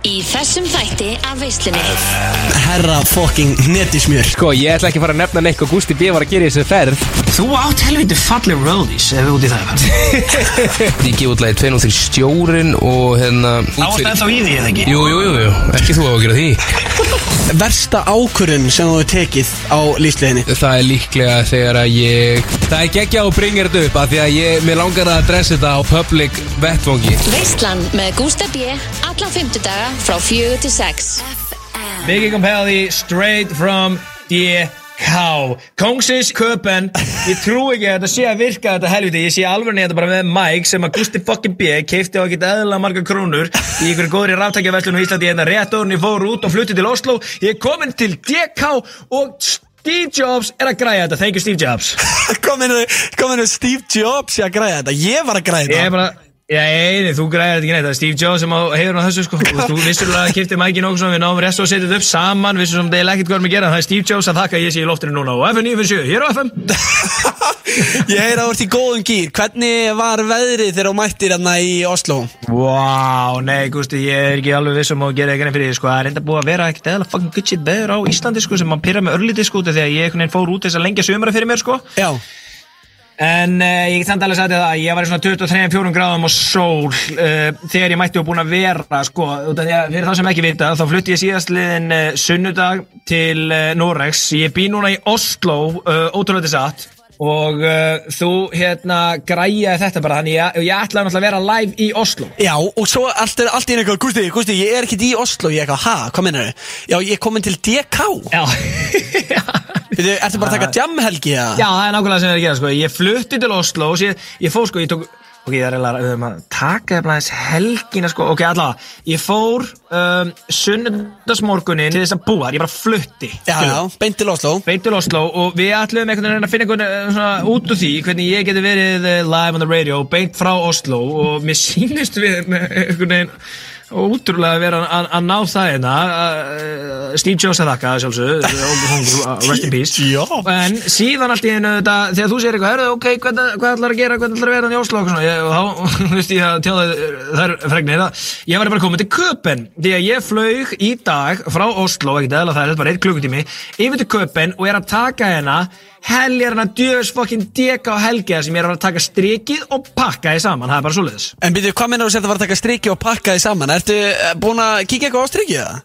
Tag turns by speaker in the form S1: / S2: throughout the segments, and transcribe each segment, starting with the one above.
S1: Í þessum þætti af veislunni
S2: Herra fokking netismjör
S3: Sko, ég ætla ekki að fara að nefna neitt hvað Gústi B var að gera í þessu ferð
S4: Þú átt helviti falleg roadies ef við út í það
S5: Ég gef útlæði 203 stjórin og hérna út
S4: Átt ennþá í því eða ekki
S5: Jú, jú, jú, jú, ekki þú á að gera því
S2: Versta ákvörun sem þú hefur tekið á lífsleginni
S5: Það er líklega þegar að ég Það er geggja og bringir þetta upp að Því að ég, mér langar að dressa þetta á public vettvangi
S1: Veislan með Gústa B Alla fymtudaga frá fjögur til sex
S4: Biggie Compelli straight from DK Kongsins Köpen Ég trú ekki að þetta sé að virka þetta helviti Ég sé alveg nefnda bara með Mike sem að Gusti fucking B keipti á ekkert eðla marga krónur í ykkur góðri ráttækjaverslun á Íslandi hérna rétt orðin ég fór út og flutti til Oslo Ég er komin til DK og Steve Jobs er að græja þetta Thank you Steve Jobs
S2: Kominu, kominu Steve Jobs ég að græða þetta Ég var að græða
S4: Ég er
S2: þetta
S4: bara Já, eini, þú græðir þetta ekki neitt, það er Steve Jobs sem á heiður á þessu sko Þú veist, Þú vissulega kiptið mækin okkur sem við náum rest og setjum þetta upp saman Vissulega sem það er ekkert hvað við gera, það er Steve Jobs að þakka að ég sé í loftinu núna Og FM 957, hér á FM
S2: Ég heyr að þú ert í góðum gýr Hvernig var veðrið þegar þú mættir hérna í Oslo?
S4: Vá, nei, gústi, ég er ekki alveg viss um að gera eitthvað fyrir því sko Það er enda búið að vera ekkert eða fucking good shit beður á Íslandi sko Sem að pyrra með örlítið sko, út af því að ég einhvern veginn fór út þess að lengja sumra fyrir mér sko
S2: Já
S4: En uh, ég get samt alveg sagt þér það, ég var í svona 23-4 gráðum og sól uh, þegar ég mætti og búin að vera, sko, út af því að fyrir þá sem ekki vita, þá flutti ég síðast liðin uh, sunnudag til uh, Norex, ég bý núna í Oslo, uh, ótrúlega til satt, og uh, þú, hérna, græjaði þetta bara, þannig ég, ég ætlaði náttúrulega að vera live í Oslo.
S2: Já, og svo allt er allt í einu eitthvað Gústi, Gústi, ég er ekkert í Oslo Ég er eitthvað, ha, hvað meinar þau? Já, ég er komin til DK
S4: Já,
S2: Veitu, ertu bara að taka jamhelgi
S4: Já, það er nákvæmlega sem ég er að gera sko. Ég flutti til Oslo og ég, ég fór sko, ég tók Ok, það er eiginlega um að taka það aðeins helgina sko Ok, allavega, ég fór um, sunnudagsmorgunin til þess að búa þar, ég bara flutti
S2: já, já, beint til Oslo
S4: Beint til Oslo og við ætlum einhvern veginn að finna einhvern eh, svona út úr því hvernig ég geti verið eh, live on the radio beint frá Oslo og mér sýnist við með einhvern veginn ótrúlega að vera að að ná það hérna eh, Steve Jobs að þakka sjálfsög rest in peace
S2: Jobs.
S4: en síðan allt í einu þetta þegar þú segir eitthvað, herðu, ok, hvað, hvað ætlar að gera hvað ætlar að vera hann í Oslo og svona, ég, og þá, veist ég að tjáða þær fregnir að ég var bara komin til Köpen því að ég flaug í dag frá Oslo ekkert eðla það er bara eitt klukkutími yfir til Köpen og er að taka hérna heljar hérna djöfis fokkin deka og helgeða sem ég er að vera að taka strikið og pakka því saman, það er bara svoleiðis
S2: En byrju, hvað meinar þú sér að var að taka strikki og pakka því saman? Ertu eh, búin að kíkja eitthvað á strikki það?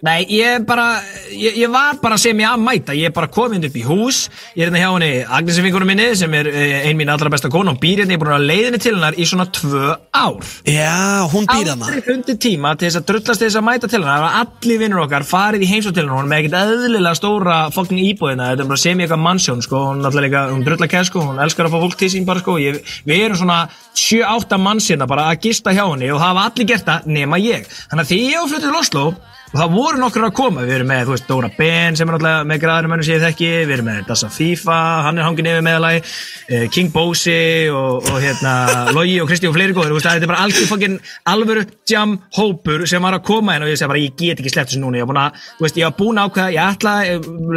S4: Nei, ég bara, ég, ég var bara sem ég að mæta, ég er bara komin upp í hús, ég er hérna hjá henni Agnesi vingunum minni sem er eh, ein mín allra besta kona og býr hérna, ég er búin að leiðinni til hennar í svona tvö ár.
S2: Já, hún býr hana
S4: Aldrei hundi tíma til þess að drullast til þess að mæta til hennar, það var allir vinnur okkar farið í heimsótt til hennar, hún er með ekkert eðlilega stóra fokkin íbúðina, þetta er bara sem ég eitthvað mannsjón, sko, hún er alltaf líka, hún drullar kæð, sko, hún elskar að fá fólk til sín bara, sko, ég, við erum svona 7-8 mannsina hérna bara að gista hjá henni og það hafa allir gert það nema ég. Þannig að því ég var fluttið til Oslo, og það voru nokkur að koma, við erum með þú veist, Dóra Ben sem er náttúrulega með græðurum önnu sem ég þekki, við erum með Dassa FIFA hann er hangin yfir meðalagi, eh, King Bosi og, og hérna Logi og Kristi og fleiri góður, þú veist, þetta er bara algjör fokkin alvöru jam hópur sem var að koma inn og ég segi bara, ég get ekki sleppt þessu núna ég var búin að, þú veist, ég var búin að ákveða, ég ætla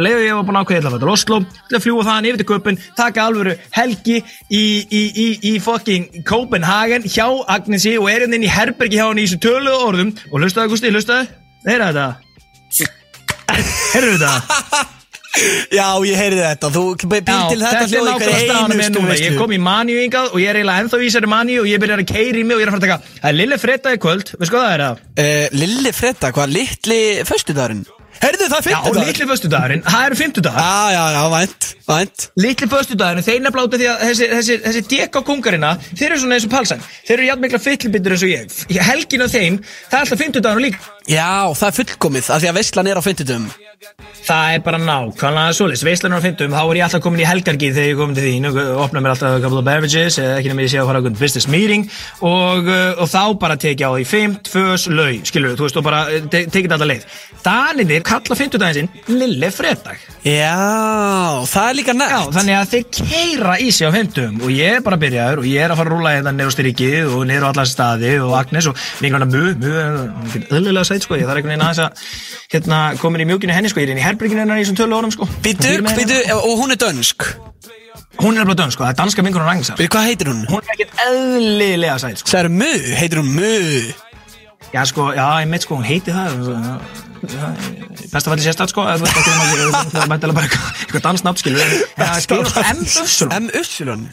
S4: leiðu ég var búin að ákveða, ég ætla að fara til Oslo til að fljúa þaðan yfir til Köpen, taka alvöru helgi í, í, í, í fucking Copenhagen hjá Agnesi og er hérna inn í herbergi hjá henni í þessu töluðu orðum og hlustaðu, Gusti, hlustaðu Heyrðu þetta? Heyrðu þetta?
S2: Já, ég heyrði þetta Þú býr til þetta hljóð
S4: er
S2: í
S4: nákvæmlega
S2: hverju
S4: staðan með
S2: einustu
S4: núna. Ég
S2: veislu.
S4: kom í maníu yngað og ég er eiginlega ennþá í þessari maníu og ég byrjar að keiri mig og ég er að fara að taka Það er lille fredag í kvöld, veist hvað það er það?
S2: Eh, Lilli Fredda, hvað, litli föstudagurinn? Heyrðu, það er
S4: Já,
S2: fymtudagurinn
S4: litli föstudagurinn, það eru fymtudagar
S2: Já, já, já, vænt, vænt
S4: Litli föstudagurinn, þeir nefnilega út af því að þessi, þessi, þessi deka kungarina, þeir eru svona eins og palsan Þeir eru játmikla fyllibindur eins og ég Í Helgin á þeim, það er alltaf fymtudagurinn líka
S2: Já, það er fullkomið, af því að veislan er á fymtudum
S4: Það er bara nákvæmlega svoleiðis Veislanur á 50, þá er ég alltaf komin í helgargið þegar ég komin til þín og uh, opna mér alltaf a couple of beverages eða ekki nema ég sé að fara á einhvern business meeting og, uh, og þá bara tekja á því 5, 2, lau, skilur þú veist og bara uh, te tekið þetta alla leið Daninir kalla 50 daginn sinn Lille Fredag
S2: Já, það er líka
S4: Já,
S2: nægt
S4: þannig að þeir keira í sig á 50 og ég er bara byrjaður og ég er að fara að rúla hérna niður á strikið og niður á alla staði og Agnes og vingarna mu, mu, hún finnir öðlilega sæt sko, ég þarf einhvern veginn aðeins að hérna komin í mjúkinu henni sko, ég er inn í herberginu hennar í þessum tölu orðum sko.
S2: Býtu,
S4: Hún býr með
S2: býtu,
S4: hérna.
S2: eh, og hún er dönsk
S4: Hún er bara dönn sko, það er danska vingarna Ragnarsson.
S2: Býtu, hvað heitir hún?
S4: Hún er ekkert öðlilega sæt sko.
S2: Það er Mu, heitir hún Mu
S4: Já, sko, já, ég mitt sko, hún heiti það já, já, Best að falla sérstætt, sko eða þú veist, ekki um að- Það er mæntilega bara eitthvað- eitthvað dansnátt, skilur við. En það skrifast M-Upsilon
S2: M-Upsilon?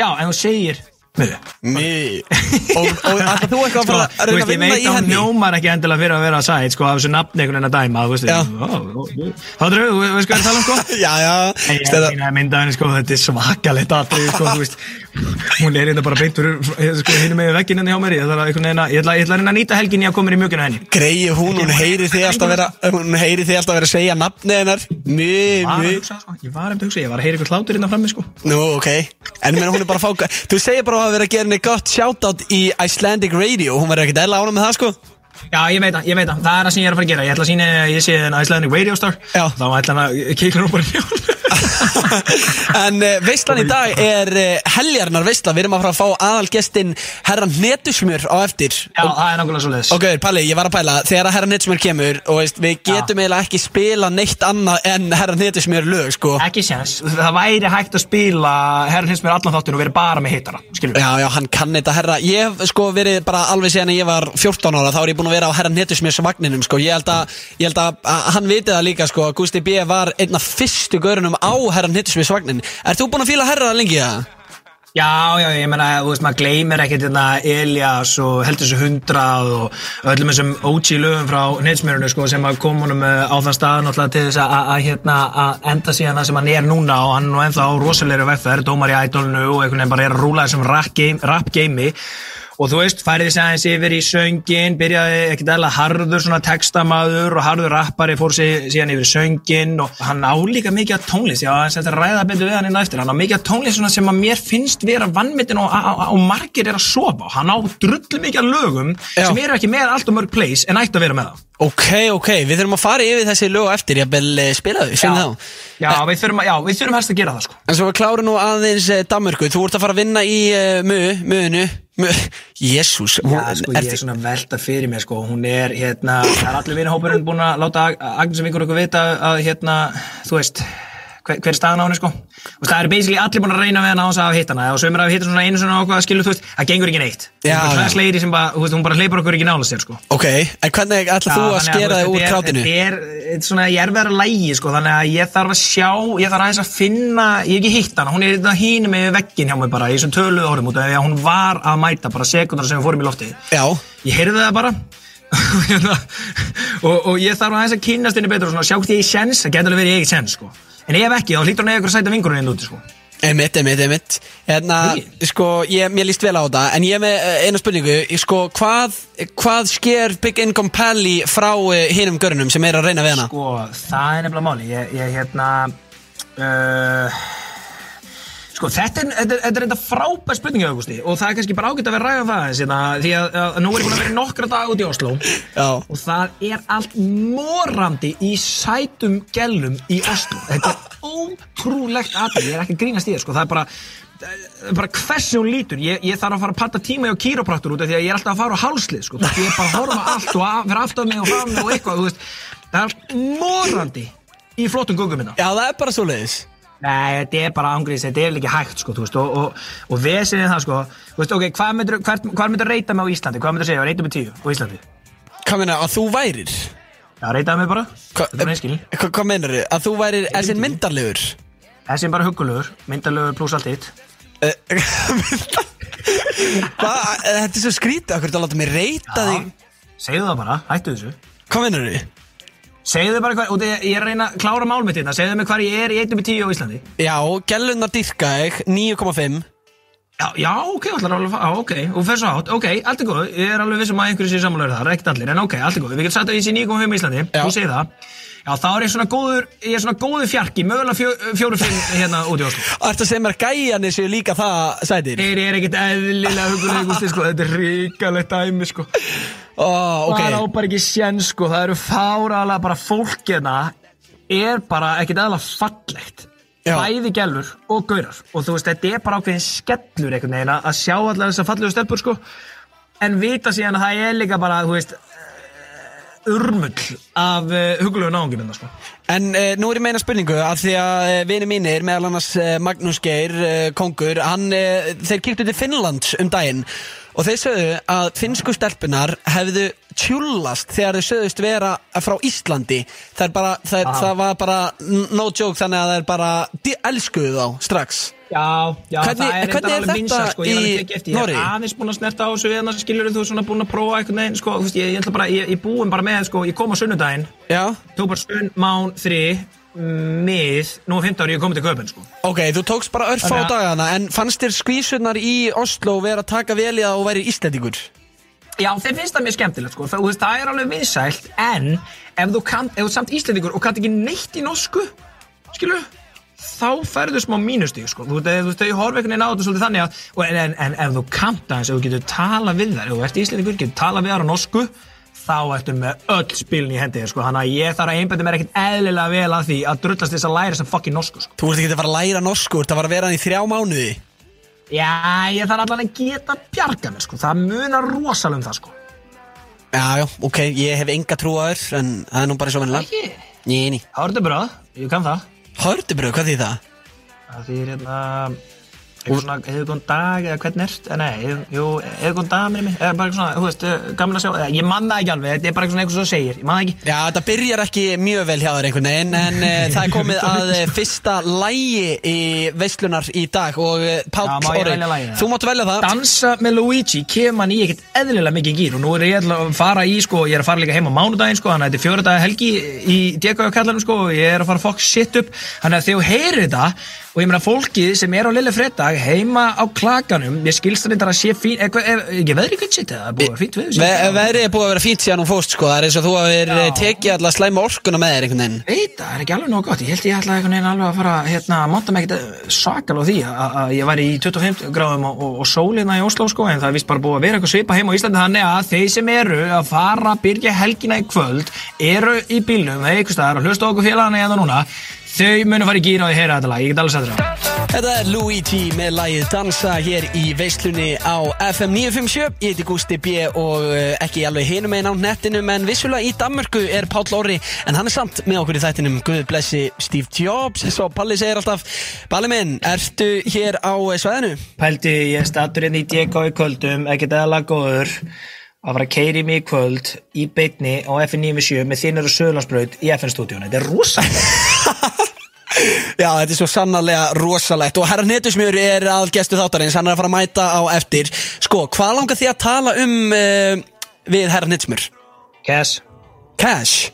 S4: Já, en þú segir Miðu.
S2: Mý Og alltaf þú eitthvað að
S4: Sko,
S2: fara að reyna
S4: þú veist,
S2: að
S4: ég
S2: vinna í
S4: veit að hún
S2: henni
S4: njómar ekki endilega fyrir að vera að sæt sko, af þessu nafni einhvern veginn að dæma þú veist,
S2: Já.
S4: ó, ó, ó. þá drögu, þú veist hvað ég er að tala um sko
S2: Já, já
S4: En ég er
S2: Stella-
S4: sína að mynda henni sko, þetta er svakalegt atrið sko, þú veist Hún er hérna bara beint úr sko, hinum með vegginn henni hjá mér Ég ætla, að einhvern veginn að- ég ætla, ég ætla að reyna að nýta helginni að koma mér í mjöginu henni
S2: Greiði hún, hún heyri þig alltaf vera Hún heyri þig alltaf vera að segja nafni hennar Mý,
S4: Ég var að
S2: mý
S4: hugsa, sko, ég var að hugsa, ég var að heyra eitthvað hlátur innan frammi sko
S2: Nú, ok En menn hún er bara að fá Þú segir bara að hafa verið að gera henni gott shoutout í Icelandic Radio Hún verður ekkert eðla ána með það, sko
S4: Já, ég veit það, ég veit það, það er það sem ég er að fara að gera Ég ætla að sína henni að ég sé en Icelandic Radio Star
S2: Já.
S4: Þá ætla hann að keikla hún bara í ljón
S2: En uh, veistlan í dag er uh, heljarnar veistla Við erum að fara að fá aðalgestinn Herran Netusmjör á eftir
S4: Já, það er nákvæmlega svo leiðis
S2: Ok, Palli, ég var að pæla, þegar að Herra Netusmjör kemur og veist, við getum eiginlega ekki spila neitt annað en Herra Netusmjör lög, sko
S4: Ekki séns, það væri hægt að spila Herran hins mér allan þáttun og verið bara með hitara Skilur
S2: Já, já, hann kann þetta herra Ég hef sko verið bara alveg síðan að ég var 14 ára Þá er ég búin að vera á herra Netusmjörs vagninum sko. Ég held að, ég held að, að hann viti það líka sko. að Gusti B. var einn af fyrstu görunum á herra Netusmjörs vagnin Er þú búin að fíla herra lengi það?
S4: Já, já, ég meina, þú veist, maður gleymir ekkert hérna Elias og heldur þessu hundrað og öllum þessum OG lögum frá neinsmjörunu, sko, sem að kom honum eh, á þann stað náttúrulega til þess að- að, að, hérna, að enda síðan það sem hann er núna og hann er nú ennþá á rosalegri vegferð, dómar í ædolnu og einhvern veginn bara er að rúla þessum rap game- rap gamei og þú veist, færið þess aðeins yfir í söngin byrjaði ekkert eðla harður svona textamaður og harður rappari fór sig, síðan yfir í söngin og hann á líka mikið af tónlist, já, þess að ræða betur við hann inn á eftir, hann á mikið af tónlist svona sem að mér finnst vera vannmittin og, og, og margir er að sofa, á. hann á drullu mikið af lögum
S2: Já.
S4: sem eru ekki með allt og mörg place en ættu að vera með það
S2: Ok, ok, við þurfum að fara yfir þessi lög á eftir Ég bel spila þau, sem þá
S4: já, við þurfum, að- já, við þurfum helst að gera það sko
S2: En svo við klárum nú aðeins eh, Danmörku Þú ert að fara að vinna í uh, mu, muðinu mu, Jésús
S4: Já, sko, ég er svona að velta fyrir mér, sko, hún er, hérna, það er allir vinahópurinn búin að láta Ag- Agnes og vingur okkur vita að, hérna, þú veist, hver, hver er staðan á henni, sko. Og það eru basically allir búin að reyna við henni á þess að hafa hitt hana, og sömur hafa hitt hana svona einu svona okkur að skilur, þú veist, það gengur ekki neitt.
S2: Já,
S4: Hún er
S2: já.
S4: bara slegri sem bara, þú veist, hún bara hleypur okkur ekki nála sér, sko.
S2: Ok, en hvernig ætlar þú
S4: Já,
S2: að
S4: þannig
S2: skera
S4: þú
S2: þig úr
S4: veist, þetta
S2: krátinu?
S4: er- Þetta er, er svona í erfiðara lægi sko, þannig að ég þarf að sjá, ég þarf aðeins að finna, ég hef ekki hitt hana, hún er þetta hínu með veggin hjá mig bara, í þessum töluðu orðum út af því að hún var að mæta bara sekundar sem við fórum í loftið.
S2: Já,
S4: Ég heyrði það bara Hérna, og, og ég þarf aðeins að kynast henni betur og svona, sjá hvort ég eigi sjens, það getur alveg verið ég eigi sjens sko. en ef ekki, þá hlýtur hún eða ykkur að sæta vingurinn hérna úti sko.
S2: Einmitt, einmitt, einmitt Hérna,
S4: Nei.
S2: sko, ég, mér líst vel á þetta En ég er með eh, eina spurningu Ég, Sko, hvað, hvað sker Big Income Pally frá uh, hinum görunum sem er að reyna við hana?
S4: sko, það er nefnilega máli ég, ég hérna uh, sko, þetta er þetta er- þetta er þetta frábær spurningi Augusti, og það er kannski bara ágætt að vera ræðan það eins, hérna, því að, að nú er ég búin að vera í nokkra dag út í Oslo
S2: Já
S4: og það er allt morandi í sætum gellum í Oslo þetta er ótrúlegt aðeins ég er ekki að grínast í það sko það er bara það er bara hversu hún lítur ég, ég þarf að fara að patta tíma hjá kýrópraktur út af því að ég er alltaf að fara á hálslið sko Þú veist, ég er bara að horfa á allt og að, vera aftur mig og fram mig og eitthvað þú veist það er allt morandi í flottum gungum minna
S2: Já, það er bara svo leiðis
S4: Nei, þetta er bara ángriðis, þetta er ekki hægt sko, þú veist, og, og, og vesinn er það sko, þú veist, ok, hvað myndir, hvað, hvað myndir reyta mig á Íslandi, hvað myndir segja, reyta mig tíu á Íslandi,
S2: Hvað meina, að þú værir?
S4: já, reytaði mig bara,
S2: Hva,
S4: þetta er bara einskilin.
S2: hva, hvað meinar þið? Að þú værir þessi myndarlegur?
S4: Þessi er bara huggulegur, myndarlegur pluss allt hitt
S2: Eh, Hvað, eh, þetta er svo skrítið Akkur þetta að láta mig reyta
S4: Já.
S2: þig
S4: Segðu það bara, hættu þessu
S2: Hvað meinar þið?
S4: Segðu bara hvað, og ég ég er að reyna að klára mál mitt hérna Segðu mig hvar ég er í 1.10 á Íslandi
S2: Já, gælunar dyrka ég 9,5
S4: Já, já, ok, allar alveg, á, ok, og fer svo átt Ok, allt er góð, ég er alveg vissum að einhverju sér samanlega þar Ekkert allir, en ok, allt er góð Við getum satt að ég sé 9.5 í Íslandi,
S2: Já.
S4: þú segir það Já, þá er ég svona góður, ég er svona góður fjarki Mögulega fjó, fjóru fimm hérna út í Oslo
S2: Ertu að segja mér að gæjanir séu líka það sætir?
S4: Þeir eru ekkert eðlilega huggulega, Gústi, sko Þetta er ríkalegt dæmi, sko
S2: Ó, ok
S4: okay. maður á bara ekki sén sko það eru fáralega bara fólkina er bara ekkit eðla fallegt
S2: Já.
S4: bæði gælur og gaurar og þú veist þetta er bara ákveðin skellur einhvern veginn að að sjá allar þessar fallegu stelpur sko en vita síðan að það er líka bara þú veist eh, urmull af uh, hugulegu náunginina sko
S2: En uh, nú er ég meina spurningu að því að uh, vini mínir, eh, meðal annars uh, Magnús Geir, uh, kongur, hann, uh, þeir kíktu til Finnlands um daginn og þeir sögðu að finnsku stelpunar hefðu tjúllast þegar þau sögðust vera frá Íslandi það, er bara, það, er,
S4: Vá.
S2: það var bara no joke þannig að það er bara de- elskuðu þá strax
S4: Já, já,
S2: Hvernig-
S4: það
S2: hvernig
S4: er reyndar
S2: er
S4: alveg
S2: þetta
S4: vinsað, sko, ég er
S2: í
S4: alveg tekið eftir, ég
S2: Noregi?
S4: er aðeins búin að snerta á þessu við hann, skilur þú svona búin að prófa einhvern veginn, sko, þú veist, ég, ég ætla bara, ég, ég búin bara með, sko, ég kom á sunnudaginn,
S2: já,
S4: tók bara sunn, mán, þri, mið, nú er 15 ári ég komið til köpinn, sko.
S2: ok, þú tókst bara örf á
S4: Þannig að-
S2: dagana en fannst þér skvísunar í Oslo vera að taka vel í það og væri Íslandingur
S4: Já, þeir finnst það mjög skemmtilegt, sko, það, þú veist, það er alveg vinsælt, en ef þú kannt, ef þú ert samt íslendingur og kannt ekki neitt í norsku, skilur þá færðu smá mínustík sko. þú veist, ef- þú veist, þau horfa einhvern veginn á þetta svolítið þannig að, og- en, en, en ef þú kannt aðeins ef þú getur tala við þær, ef þú ert íslendingur getur tala við þær á norsku þá ertu með öll spilin í hendi þér, sko. þannig að ég þarf að einbæta mér ekkert eðlilega vel að því að drullast þess að læra sem fucking norsku sko.
S2: þú ert ekki að fara að læra norskur, það var að vera hann í þrjá mánuði
S4: Já, ég þarf allan að geta bjarga mér sko, það munar rosalega um það sko
S2: já, já, ok, ég hef enga trú á þér en það er nú bara svo vennilega
S4: Ekki?
S2: Ný, ný.
S4: Hörðu bröð, ég kann það
S2: Hörðu bröð, hvað því það?
S4: Það þýðir hérna eitthvað svona, hefur góðan dag eða hvern ert Eh, Nei, hefur- jú, hefur góðan dag mér mig eða bara eitthvað svona, þú veist, eh, gaman að sjá eða, ég man það ekki alveg, þetta er bara eitthvað svona eitthvað sem þú segir ég man það ekki
S2: Já, þetta byrjar ekki mjög vel hjá þér einhvern veginn en uh, það er komið að uh, fyrsta lægi í veislunar í dag og uh,
S4: Já,
S2: Páll
S4: má ég
S2: Orri,
S4: velja lagið?
S2: þú mátt velja það
S4: Dansa með Luigi kem hann í ekkert eðlilega mikið gýr og nú er ég ætla að fara í, sko, ég er að fara líka heim á mánudaginn, sko, þannig að þetta er fjóra daga helgi í DKK-kallanum, sko, og ég er að fara að fokk shit upp, þannig að þegar þú heyrir þetta og ég meina fólkið sem er á Lille Fredag heima á klakanum, ég skilst hann að sé fín, eða, eða, ekki veðri kvöld shit eða, það er búið að vera fínt veður
S2: Ve
S4: síðustu daga.
S2: Veðrið er búið að vera fínt síðan hún fóst sko, það er eins og þú hafir eh,
S4: Já.
S2: tekið alla slæma orkuna með þér einhvern veginn
S4: veit það, það er ekki alveg nóg gott ég held ég ætlaði einhvern veginn alveg að fara hérna, að monta mig ekkert svakal á því að að ég væri í 25 gráðum og, og, og sólina í Oslo sko, en það er vist bara búið að vera eitthvað svipa heim á Íslandi þannig að þeir sem eru að fara að byrja helgina í kvöld eru í bílnum eða einhvers staðar og hlusta á okkur félagana eða núna þau munu fara í gýra og heyra þetta lag, ég get alveg sættur á
S2: Þetta er Luigi með lagið Dansa hér í veislunni á FM 957 Ég heiti Gústi B og eh, ekki alveg hinum einn á nettinum en vissulega í Danmörku er Páll Orri en hann er samt með okkur í þættinum Guð blessi Steve Jobs Svo Palli segir alltaf Palli minn, ertu hér á eh, svæðinu?
S4: Pældi, ég er statur inn í DK í kvöldum, ekkert eðalega góður að fara að keiri mig í kvöld í beitni á FN97 með þínur og Söðlandsbraut í FN-stúdíónu. Þetta er rosalega.
S2: Já, þetta er svo sannarlega rosalegt og herra Netusmjör er að gestu þáttarins hann er að fara að mæta á eftir Sko, hvað langar því að tala um uh, við herra Netusmjör?
S4: Cass.
S2: Cash?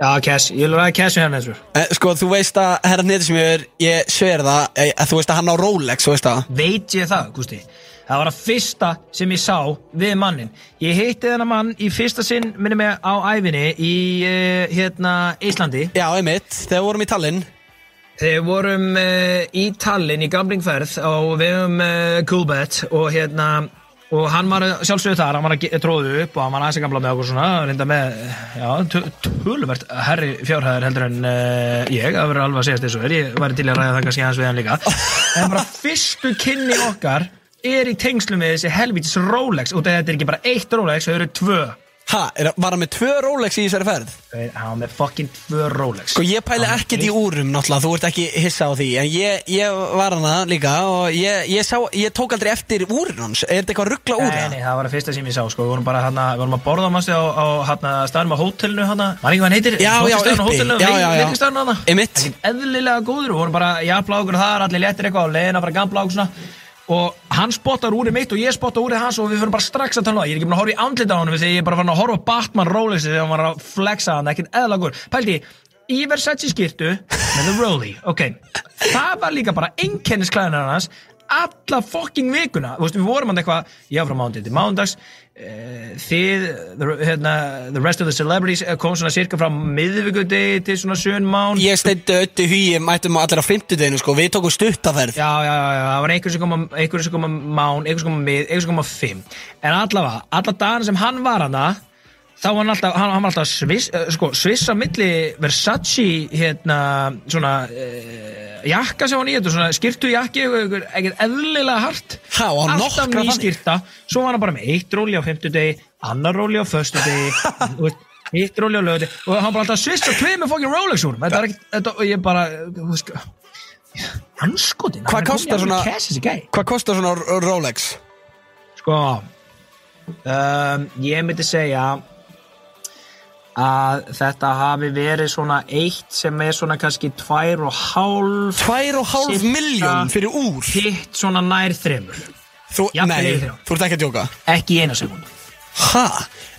S4: Já, Cass. Ég vil ræða Cass við hann eins og.
S2: Eh, Sko, þú veist að herra Netismjör, ég sver það, eh, að þú veist að hann á Rolex, þú veist það?
S4: Veit ég það, Gusti? Það var að fyrsta sem ég sá við mannin. Ég heitti þennan mann í fyrsta sinn, minni mig, á æfinni í, uh, hérna, Íslandi.
S2: Já, einmitt, þegar við vorum í Tallinn.
S4: Þegar við vorum uh, í Tallinn í gamlingferð og við höfum uh, Coolbet og hérna og hann var sjálfsögðu þar, hann var að ge- tróðu upp og hann var aðeins að gamla með okkur svona reynda með, já, tö- töluvert herri fjárhæðar heldur en uh, ég það verður alveg að segjast þessu er, ég væri til í að ræða það kannski hans við hann líka en bara fyrstu kynni okkar er í tengslum við þessi helvítis Rolex út af þetta er ekki bara eitt Rolex, þau eru tvö
S2: Ha, er, var hann með tvö Rolex í þessari ferð?
S4: Þau- hann var með fucking tvö Rolex
S2: Sko, ég pæli
S4: Hann-
S2: ekkert í úrum, náttúrulega, þú ert ekki hissa á því, en ég, ég var hana líka og ég, ég, sá, ég tók aldrei eftir úrin hans, er þetta eitthvað ruggla úr
S4: Nei,
S2: það?
S4: nei, það var að fyrsta sem ég sá, sko, við vorum bara hann við vorum að borða mannstu á, á hann að staðnum á hótelinu hann að, var ekki hvað hann heitir?
S2: Já, já,
S4: Hótelstjórinn á
S2: uppi.
S4: hótelinu, hérna?
S2: Já, já, já.
S4: veitingstjórinn hann að?
S2: Einmitt.
S4: Ekkert eðlilega góður, við vorum bara jafnla okkur þar, allir léttir eitthvað á leiðina, bara gamla okkur svona og hann spottar úrið mitt og ég spotta úrið hans og við fyrir bara strax að tala um það. ég er ekki búin að horfa í andlita á hann þegar ég er bara farin að horfa á Batman Rolex þegar hann var að flexa hann, ekkert eðla góður pældi, í Versace skýrtu með The Rolly, ok það var líka bara einkennisklæðunar hans alla fokking vikuna Þú veist, við vorum hann eitthvað, ég var frá mándið til mándags eh, þið the, hérna, the rest of the celebrities eh, kom svona cirka frá miðvikudegi til svona sjön mánd
S2: Ég steindu öttu hugi, mættum allir á fimmtudeginu, sko, við tókum stuttaferð.
S4: Já, já, já, já, það var einhver sem kom að, einhver sem kom að mán, einhver sem kom að mið, einhver sem kom að fimm En allavega, alla dagana sem hann var hana Þá var hann alltaf, hann, hann var alltaf sviss, uh, sko, sviss á milli Versace, hérna, svona, uh, jakka sem hann í þetta, svona skyrtu jakki, ekkert eðlilega hart
S2: Ha, og hann
S4: Alltaf
S2: nokkra
S4: ný
S2: þannig.
S4: skyrta, svo var hann bara með eitt róli á fimmtudegi, annar róli á föstudegi Eitt róli á lögði og hann bara alltaf sviss á tveimur fokkin Rolex úr Þetta er ekki, þetta, og ég bara, eh, þú veist, anskotin
S2: Hvað kostar svona-
S4: Cash is a guy
S2: Hvað kostar svona Rolex?
S4: Sko Um, ég myndi segja að þetta hafi verið svona eitt sem er svona kannski tvær og hálf
S2: Tvær og hálf
S4: Cirka-
S2: miljón fyrir úr
S4: hitt svona nær þremur.
S2: Þú,
S4: Jafnvel
S2: nei,
S4: yfir þrjá.
S2: þú ert ekki að djóka
S4: Ekki í eina sekund.
S2: Ha?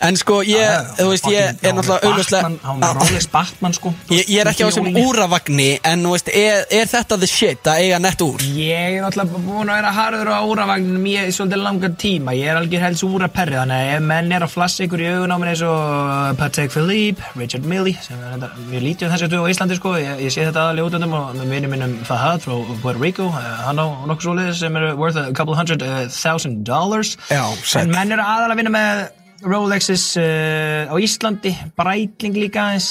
S2: En sko ég, þú veist, ég er náttúrulega
S4: Hann var
S2: auðvitað
S4: Rolex Batman sko. þú
S2: Ég,
S4: veist,
S2: ég er ekki á þessum
S4: jólin.
S2: úravagni En þú veist, er, er þetta the shit að eiga nett úr?
S4: Ég er náttúrulega búin að vera harður á úravagninum í svolítið langan tíma. Ég er algjör helst úraperri þannig að ef menn er að flassa ykkur í augun á mér eins og uh, Patek Philippe, Richard Milley, sem er þetta mjög lítið um þessu duð á Íslandi sko. Ég, ég sé þetta aðalega útöndum og með vinum minnum Fahad frá Puerto Rico, eh, hann á nokkuð svoleiðis sem eru worth a couple hundred eh, thousand dollars.
S2: Já, sæll.
S4: En menn eru aðalega að vinna með Rolexes uh, á Íslandi, Breitling líka eins.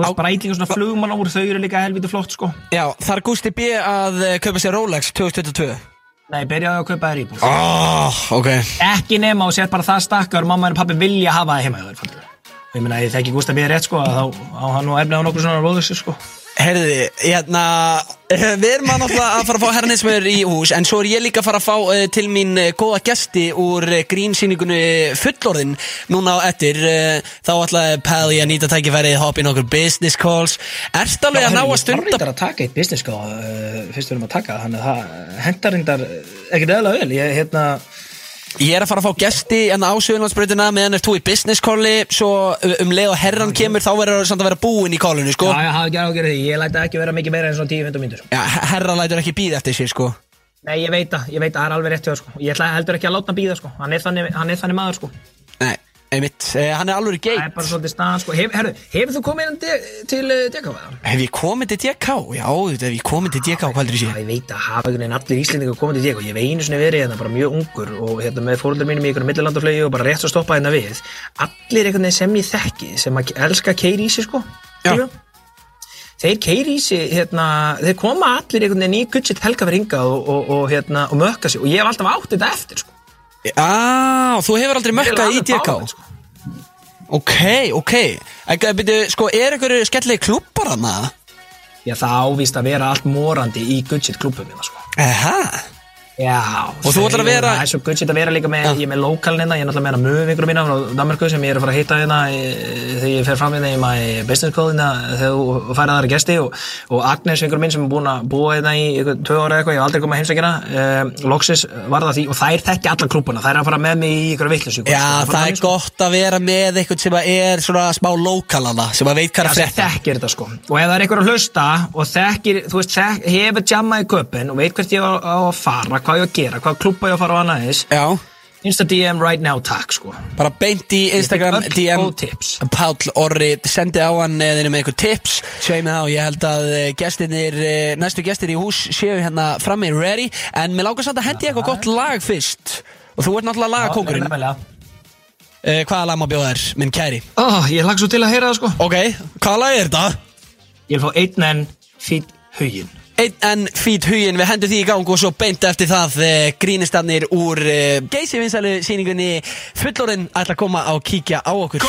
S2: Á-
S4: Breitling og svona flugmann þau eru líka helviti flott sko.
S2: Já, þar Gusti B að eh, kaupa sér Rolex 2022
S4: Nei, byrjaði að kaupa þér íbúð.
S2: Oh, ok
S4: Ekki nema og sér bara það stakkar mamma og pappi vilja hafa það heima hjá þér, fattur. Ég meina, ég þekki Gústa mér rétt, sko, að þá á hann nú efnið á nokkur svona róðursi, sko.
S2: Herði, hérna, eh, við erum að náttúrulega að fara að fá herrnismöður í hús En svo er ég líka að fara að fá uh, til mín uh, góða gesti úr uh, grínsýningunni fullorðin Núna á ettir, uh, þá ætlaði Pally að nýta tækifærið hoppa í nokkur business calls Erst alveg að ná að
S4: Það
S2: stunda
S4: reyndar að taka eitt business, sko, uh, fyrst við erum að taka það, þannig að það hendar reyndar eh, ekkert eðalega vel. Ég, hérna,
S2: Ég er að fara að fá gesti en á Suðurlandsbreytina meðan er þú í business calli Svo uh, um leið og herran kemur þá verður það samt að vera búinn í callinu, sko
S4: já, ég hafði ekki ágjörði því, ég læta ekki vera mikið meira en svona 10-15 mínútur.
S2: Já, herran lætur ekki býð eftir sér, sko
S4: Nei, ég veit það, ég veit það, það er alveg rétt hjá, þér, sko. Ég ætla heldur ekki að láta hann býða, sko. Hann er þannig, hann er þannig maður, sko.
S2: Nei, einmitt, uh, hann er alveg
S4: Það er
S2: geit
S4: bara svolítið staðan, sko. Hef, herru, hefur þú komið inn til, til uh, Dekafaðan?
S2: Hef ég komið til DK? Já, auðvitað, hef ég komið til DK, hvað heldur ég sé?
S4: Já, ég veit að hafa einhvern veginn allir Íslendingar komið til Diego. Ég hef einu sinni verið hérna bara mjög ungur og hérna með fóröldar mínum í einhvern millilandaflegi og bara rétt að stoppa hérna við. Allir einhvern veginn sem ég þekki, sem að elska keiri í sig sko.
S2: Já.
S4: skilurðu? Þeir keiri í sig, hérna, þeir koma allir einhvern veginn í gudsitt helgafringa og, og, og, hérna, og mökka sig og ég hef alltaf átt þetta eftir sko.
S2: Á, þú hefur aldrei mökkað í
S4: Alveg
S2: DK
S4: bálið, sko.
S2: Ok, ok En byrju, sko, er einhverju skellilegi klubbar hann að?
S4: Já, það ávist að vera allt morandi í gudsitt klubum minna sko.
S2: Aha
S4: Já,
S2: Og þú ætlar að
S4: segðu
S2: vera-
S4: það, Það er svo gudsið að vera líka með, ég er með lokalinn hérna, ég er náttúrulega með hana möfingur mína frá Danmarku sem ég er að fara að hitta hérna eh, þegar ég fer fram hérna í my business call hérna þegar þú færið aðra gesti og, og Agnes einhver minn sem er búin að búa hérna í ykkur tvö ára eitthvað, ég hef aldrei komið að heimsækina um, loksis var það því og þær þekki alla klúbuna, þær er að fara með mig í ykkur sko. vittlis
S2: Já, það er gott að vera með einhvern sem að er svona smá lokalana sem að veit hvað er að
S4: sem
S2: frétta
S4: þekkir þetta sko og ef það er einhver að hlusta og þekkir þú veist, þek, hefur jamma í köpinn og veit hvert ég á, á að fara, hvað ég á að gera hvað klúpa ég á að fara á annað eins
S2: Já,
S4: Insta DM right now, takk sko
S2: bara beint í Instagram
S4: Ég fekk öll
S2: DM
S4: góð tips.
S2: Páll Orri, sendi á hann eða með einhver tips Sveið mig þá, ég held að eh, gestirnir, eh, næstu gestir í hús séu hérna frammi ready En mér lákar samt að hendi ég eitthvað gott lag fyrst Og þú ert náttúrulega lagakókurinn uh, Hvaða lag má bjóða þér, minn kæri?
S4: oh, Ég lag svo til að heyra það sko
S2: Ok, hvaða lag er þetta?
S4: Ég vil fá einn en fýtt hugin
S2: Einn en fýt hugin, við hendum því í gang og svo beint eftir það uh, grínistannir úr uh, geysi vinsælu síningunni Fullorinn ætla að koma á kíkja á okkur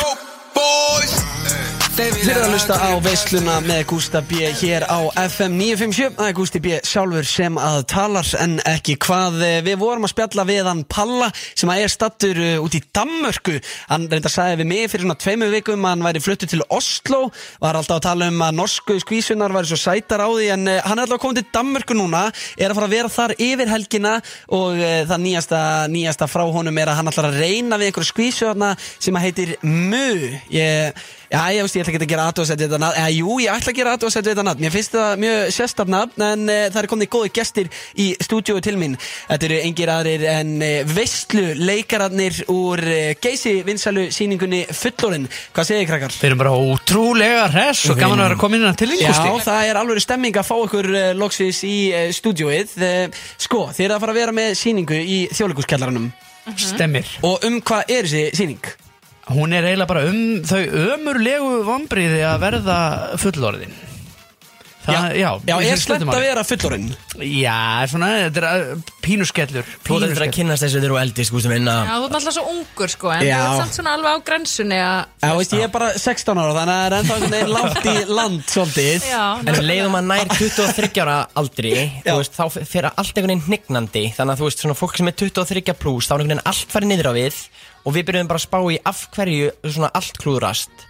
S2: Þið eru að hlusta á veisluna með Gústa B hér á FM 957 Það er Gústi B sjálfur sem að talar en ekki hvað Eh, Við vorum að spjalla við hann Palla sem að er stattur út í Dammörku Hann reynda sagði við mig fyrir svona tveimur vikum að hann væri fluttur til Oslo Var alltaf að tala um að norsku skvísunar væri svo sætar á því En eh, hann er alltaf komið til Dammörku núna Er að fara að vera þar yfir helgina Og eh, það nýjasta, nýjasta frá honum er að hann ætlar að reyna við einhverju skvísu þarna sem að heitir Mu Ég Já, ég veist, ég ætla ekki að gera aðtóðsett við þetta nafn Eða, jú, ég ætla að gera aðtóðsett við þetta nafn Mér finnst það mjög sérstaf nafn En e, það er komnið góði gestir í stúdíói til mín Þetta eru engir aðrir en e, veistlu leikararnir úr e, geysi vinsælu síningunni Fullorinn Hvað segir þið, krakkar?
S6: Þeir eru bara ótrúlega hress og gaman að vera komin innan til þín,
S2: Já,
S6: Gústi.
S2: það er alveg stemming að fá ykkur e, loksis í e, stúdíóið e, Sko, þið eru að fara að vera með síningu í þjóðleikuskjallaranum
S4: Mhm.
S6: Stemmir.
S2: Og um hvað er þessi síning?
S6: Hún er eiginlega bara um þau ömurlegu vambriði að verða fullorðin. Það, já,
S2: já
S6: ég
S2: er
S6: finnst
S2: slæmt
S6: þetta
S2: að
S6: máli.
S2: vera fullorinn
S6: Já, svona, þetta er uh,
S7: Þú
S6: pínuskellur
S7: ert eftir að
S6: Pínuskellur
S7: kynast þessu þegar þú eldist, sko, sem vinna
S8: Já, þú ert alltaf svo ungur sko, en
S2: Já.
S8: þú ert samt svona alveg á grensunni að
S2: Já, veist, ég er bara 16 ára þannig að það er ennþá einhvern veginn langt í land svolítið
S8: Já,
S7: En um leiðum að nær 23 ára aldri þú veist, þá fyrir allt einhvern veginn hnignandi þannig að þú veist, svona fólk sem er 23 pluss þá er einhvern veginn allt farið niður á við og við byrjum bara að spá í af hverju svona allt klúðrast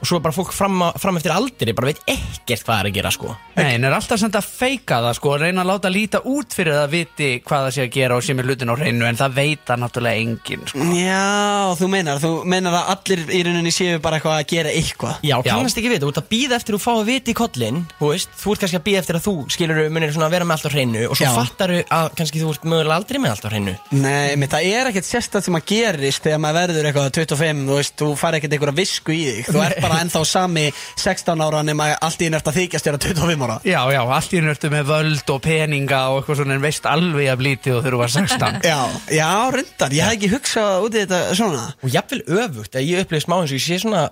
S7: og svo er bara fólk fram, á- fram eftir aldri bara veit ekkert hvað er að gera sko
S6: Nei, en er alltaf samt að feika það sko reyna að láta líta út fyrir það viti hvað það sé að gera og sé með hlutin á hreinu en það veit það náttúrulega enginn sko.
S2: Já, þú meinar, þú meinar að allir í rauninni séu bara eitthvað að gera eitthvað
S7: Já, kannast ekki við, þú ert að býða eftir að fá að vita í kollin Þú veist, þú ert kannski að býða eftir að þú skilur munir svona að vera með allt á hreinu og svo
S2: Já.
S7: fattaru að kannski þú ert mögulega aldrei með allt á hreinu
S2: Nei, menn, það er ekkert sérstætt sem að gerist þegar maður verður eitthvað 25, þú veist, þú fari ekkert einhverja visku í þig Þú ert bara ennþá sami 16 ára nema allt í einu eftir að þykjast þér að 25 ára
S6: Já, já, allt í hennu ertu með völd og peninga og eitthvað svona en veist alveg að blítið og þurfa að 16
S2: Já, já, rundar, ég hef ekki hugsað út í þetta svona
S7: og jafnvel öfugt að ég upplifði smá eins og ég sé svona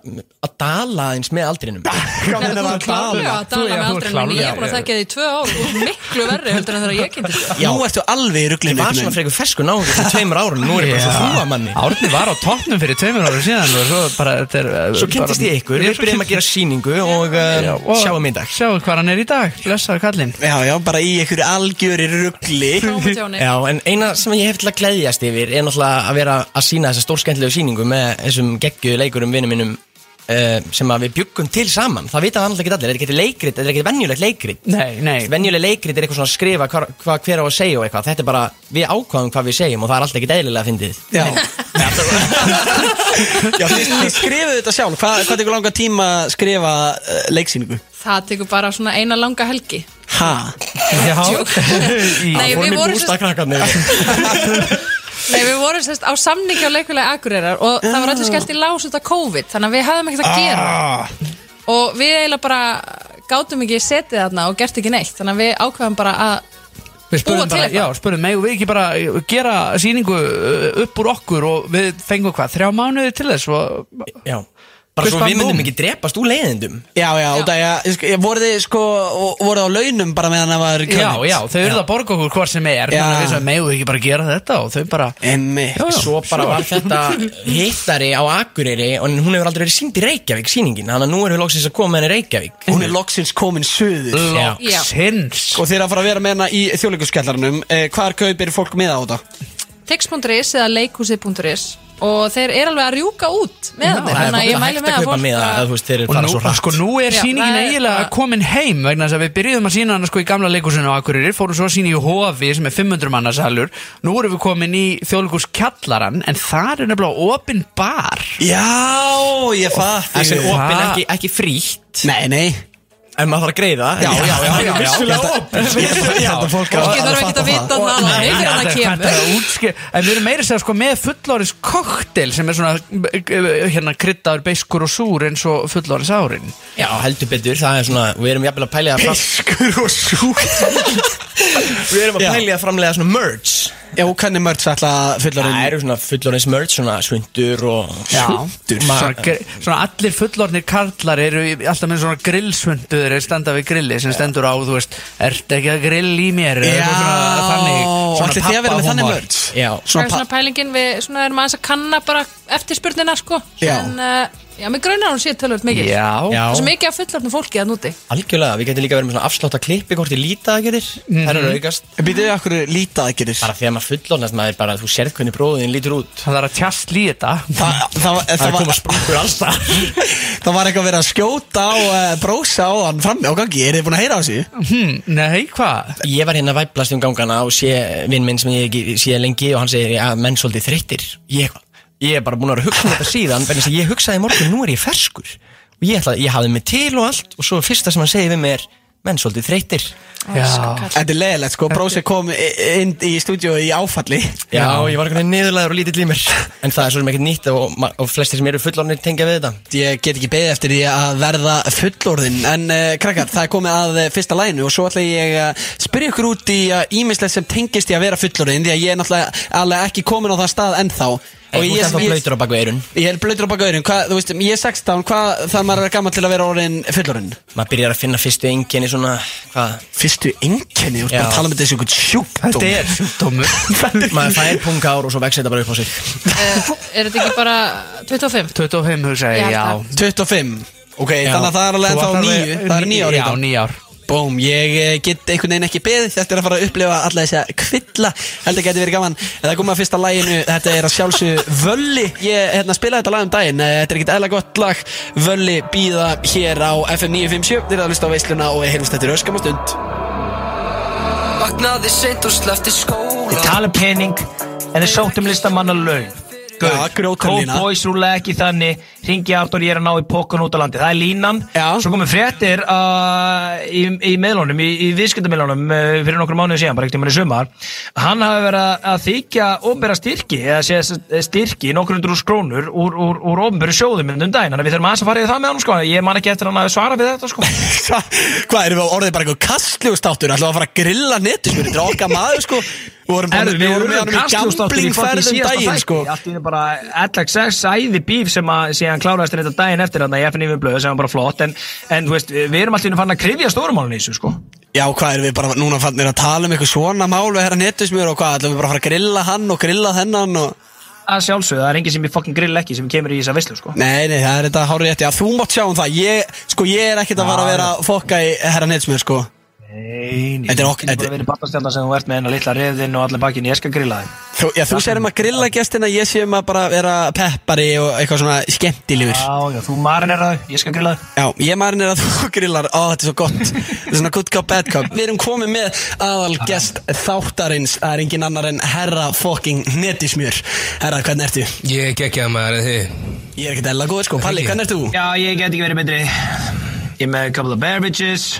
S7: að dala eins með aldrinum
S2: Hvað
S8: Nei, þú
S2: meinar
S8: er
S2: að
S8: klálega
S2: tala?
S8: að dala
S6: Þú-
S8: með
S6: já, þú
S8: aldrei
S6: ert
S8: en ég er
S6: klárlega,
S8: búin að
S6: já.
S8: þekka þig í tvö ár og þú ert miklu verri heldur en þegar ég kynnti þig
S2: Nú ertu alveg í
S7: Ég
S2: ruglinu
S7: var svona frekar fersku náður fyrir tveimur árum Nú er ég bara svo hrúa manni
S6: Árni var á toppnum fyrir tveimur ára síðan og svo bara þetta er uh,
S7: Svo kynntist
S6: bara-
S7: ég ykkur,
S6: Já,
S7: við
S6: svo
S7: byrjum að
S6: kynntist-
S7: gera sýningu og
S6: Já,
S7: uh,
S6: og-
S7: sjáum í dag
S6: Sjáum hvað hann er í dag, blessaður kallinn
S2: Já, já, bara í einhverju algjöri rugli
S8: Trómatjóni
S7: Já, en eina sem ég hef til að gleðjast yfir er náttúrulega að vera að sína þessa stórskendlegu sýningu með þessum geggjuðu leikurum vinnum minnum uh, sem að við bjuggum til saman Það vita það náttúrulega ekki allir, þetta er ekki leikrit, þetta er ekki venjulegt leikrit
S6: Nei, nei,
S7: Venjuleg leikrit er eitthvað svona að skrifa hvað hva, hver á að segja og eitthvað Þetta er bara, við ákvaðum hvað við segjum og það er alltaf ekki eðlilega að fyndið
S2: Já, já þið, þið skrifuðu þetta sjálf Hva, Hvað tekur langa tíma að skrifa uh, leiksýningu?
S8: Það tekur bara svona eina langa helgi
S2: Ha?
S8: Nei, við vorum sérst-
S7: krakkarnir
S8: nei, við vorum sérst á samningi á leikulega Akureyrar og það var allir skellt í lás út af COVID þannig að við hafðum ekkert
S6: Ah.
S8: að gera og við eiginlega bara gátum ekki setið þarna og gert ekki neitt þannig að við ákveðum bara að
S6: Við spurðum
S8: Búa til
S6: bara,
S8: eitthvað.
S6: já, spurðum megum við ekki bara uh, gera sýningu uh, upp úr okkur og við fengum hvað, þrjá mánuði til þess og...
S7: Já, bara
S6: Hvers
S7: svo
S6: band
S7: við myndum
S6: búm?
S7: ekki drepast úr leiðindum
S2: Já, já, út af að sko, voru þið sko, og- voruð á launum bara meðan það var
S6: Já, já, þau eru að borga okkur hvort sem er
S2: Já.
S6: þannig að við sem megum við ekki bara gera þetta og þau bara
S2: Emmi
S6: Já, já,
S7: Svo bara
S6: sure.
S7: var þetta hittari á Akureyri og hún hefur aldrei verið sínd í Reykjavík sýningin Þannig að nú erum við loksins að koma með henni í Reykjavík
S2: Hún er loksins komin suður
S6: Loksins
S2: Og þið er að fara að vera með hana í þjóðleikuskellarnum eh, Hvar kaupir fólk miða á þetta?
S8: tix.is eða leikhúsi.is og þeir eru alveg að rjúka út með þetta
S7: Það er
S8: þannig að ég
S7: bara
S8: mæli
S7: hægt að
S8: með að
S7: kaupa
S8: fólk
S7: með það,
S8: að-
S7: þú veist, þeir eru
S6: Og
S7: fara
S6: nú,
S7: svo hrætt
S6: sko, nú er
S8: Já,
S6: sýningin
S8: það er-
S6: eiginlega
S8: það-
S6: komin heim vegna þess að við byrjuðum að sýna hana sko í gamla leikusinu á Akureyri fórum svo að sýna í Hofi sem er 500 manna salur Nú erum við komin í þjóðleikus kjallaran en þar er nefnilega opin bar
S2: Já, ég fatt
S7: Það sem
S6: Hvað?
S7: opinn ekki, ekki frítt
S2: Nei, nei
S7: En maður þarf að greiða
S6: Já, já, já, já, já.
S7: Vissulega opinn
S2: Þetta fólk á
S8: Fólki
S2: að
S8: þarf ekki
S2: fatta
S8: að vita
S2: það.
S8: það
S6: Nei,
S8: þannig að það
S6: þetta er- þetta er
S8: kemur
S6: að útskýra- En við erum meira að segja sko með fullorins koktel sem er svona eh, hérna kryddaður, beiskur og súr eins og fullorins árin
S7: Já, heldur betur, það er svona, við erum jafnvel að pælja að fram-
S2: Fiskur og súr
S7: Við erum að
S2: Já.
S7: pælja að framlega svona merch
S2: Já, og hvernig mörg sætla fullorinn
S7: Það eru svona fullorins merch, svona svundur og
S6: Sundur svona, gr- svona allir fullornir karlar eru í- alltaf með svona grillsvönduður er standa við grilli sem stendur á þú veist, ert ekki að grill í mér eða
S2: Já,
S6: eitthvað svona þannig svona
S2: ætlið þið að vera með þannig
S6: pabbahúmor.
S2: mörg?
S7: Já,
S8: Það er
S2: pa-
S8: svona pælingin við svona erum aðeins að kanna bara eftir spurnina sko
S2: Já.
S8: en uh, já, mig graunar hún sé tölvöld mikið
S6: Já,
S7: Já.
S8: það er svo mikið af fullorðnum fólki að núti
S7: algjörlega, við getum líka verið með svona afslátt að klippi hvort í lítaaðgerðir Það eru aukast
S2: Býtið við okkur lítið að gerist
S7: bara þegar maður fullornast maður bara þú sérð hvernig bróðin lítur út
S6: það er að tjast lí þetta
S2: Það, það, það,
S7: það
S2: það,
S7: koma
S2: var,
S7: sprungur alls það
S2: það var eitthvað verið að skjóta á uh, brósa á hann frammi á gangi Er þið búin að heyra á þessu?
S6: hm, Nei, hvað?
S7: ég var hérna að væplast um gangana og sé vinn minn sem ég ekki sé lengi og hann segir að menn svolítið þreyttir ég, ég er bara búin að vera að hugsa um þetta síðan en þess að ég hugsaði í morgun nú er ég ferskur og ég, ætla, ég hafði mig til og allt og svo fyrsta sem hann segir við mig er menn svolítið þreyttir
S6: Já,
S2: Þetta er leðilegt sko, brósi kom i- inn í stúdíu í áfalli
S7: já, ég var eitthvað niðurlegaður og lítill í mér en það er svo sem ekkert nýtt og, ma- og flestir sem eru fullornir tengja við þetta
S2: Ég get ekki beðið eftir því að verða fullorðinn En uh, krakkar, það er komið að uh, fyrsta læginu Og svo ætla ég að spyrja ykkur eh, út í uh, ímislegt sem tengist í að vera fullorðinn Því að ég er náttúrulega alveg ekki komin á það stað ennþá Og
S7: En þú
S2: ég-
S7: ert ennþá
S2: ég-
S7: blöytur á baku eirun
S2: Ég er blöytur á baka öðrum, hvað, þú veist, ég er 16, hvað þarf maður að vera gammal til að vera orðin fullorinn?
S7: Maður byrjar að finna fyrstu enginni svona Hvað?
S2: Fyrstu enginni, þú ert
S7: Já.
S2: bara að tala um þetta eins og einhvern sjúkdóm
S7: Þetta er
S6: sjúkdómur
S7: Maður fær punga ár og svo vex þetta bara upp á sig
S8: Eh, Er þetta ekki bara 25?
S6: 25 hugsa
S8: Ég
S6: ég,
S8: held
S6: já
S8: það.
S2: 25, ok,
S7: Já.
S2: þannig að það er
S6: Þú
S2: alveg ennþá
S6: ætlar að-
S2: nýju, það er nýja árið
S6: Já, nýja ár
S2: Bóm, ég eh, get einhvern veginn ekki beðið Þetta er að fara að upplifa alla þessi að kvilla Held að geti verið gaman En það kom að fyrsta læginu, þetta er að sjálfsög Völli, ég hérna, spilaði þetta lag um daginn eh, Þetta er ekkert eðla gott lag Völli býða hér á FM 957 Þeir eru að hlusta á veisluna og við heyrumst þetta í öskama stund
S9: Vaknaði seint og slefti
S4: Þeir
S9: skóla
S4: tala um pening En þeir sótt um listamanna laun
S2: Já, um grjótar lína.
S4: Cowboys rúla ekki þannig Ringi aftur ég er að ná í pokkun út á landi Það er línan
S2: Já.
S4: Svo komum fréttir uh, í, í meðlunum Í, í viðskiptamiðlunum uh, Fyrir nokkrum mánuðum síðan, bara ekkert um hann í sumar Hann hafi verið að- að þykja Ómbera styrki, eða sé eh, styrki Nokkur hundur úr skrónur Úr, úr, úr ómbera sjóðum um daginn Þannig að við þurfum aðeins að fara í það með hann sko. Ég man ekki eftir að hann að svara við þetta sko.
S2: Hva- Hvað erum við á orðið bara eitthvað kastljóðstáttur Ætlum við að fara að grilla netur Við erum dráka maður sko Við vorum bara
S4: Herðu,
S2: við vorum með honum í
S4: kastljósdóttur í fucking
S2: gamblingferðum
S4: síðasta
S2: daginn
S4: þætti.
S2: sko
S4: Allt í einu bara LXS æði bíf sem að síðan kláraðist þetta daginn eftir þarna í FNV blöðu sem var bara flott en, en þú veist, við erum allt í einu fann að krifja stórumálun í þessu sko
S2: Já, hvað erum við bara núna fannir að tala um eitthvað svona mál Við herra netusmjör og hvað Ætlum við bara að fara að grilla hann og grilla þennan og...
S4: að sjálfsögðu, það er enginn sem ég fucking grill ekki sem kemur í þessa veislu sko
S2: Nei, nei, það er þetta hárið rétti Já, þú mátt sjá um það Ég, sko, ég er ekkert að fara að vera að fokka í herra netusmjör sko
S4: Nei,
S2: Þetta er ok-
S4: Þetta
S2: þetta-
S4: er verið barnastjarnar sem þú ert með hennar litla reyðin og allir bakinn, ég skal grilla þig
S2: Þú, já, þú sérum að grilla gestina Ég séum að bara vera peppari og eitthvað svona skemmtilegur
S4: Já, já, þú marinar þau, ég skal grilla þig
S2: Já, ég marin er að þú grillar, ó þetta er svo gott Þetta er svona good cop, bad cop Við erum komið með aðal gest þáttarins Það er engin annar en herra fucking netismjör Herra, hvernig ertu?
S5: Ég gekk að maður en þið
S2: Ég er ekkert eðla góður sko, Palli, hvernig ertu?
S4: Já, ég get ekki verið betri Ég er með a couple of beverages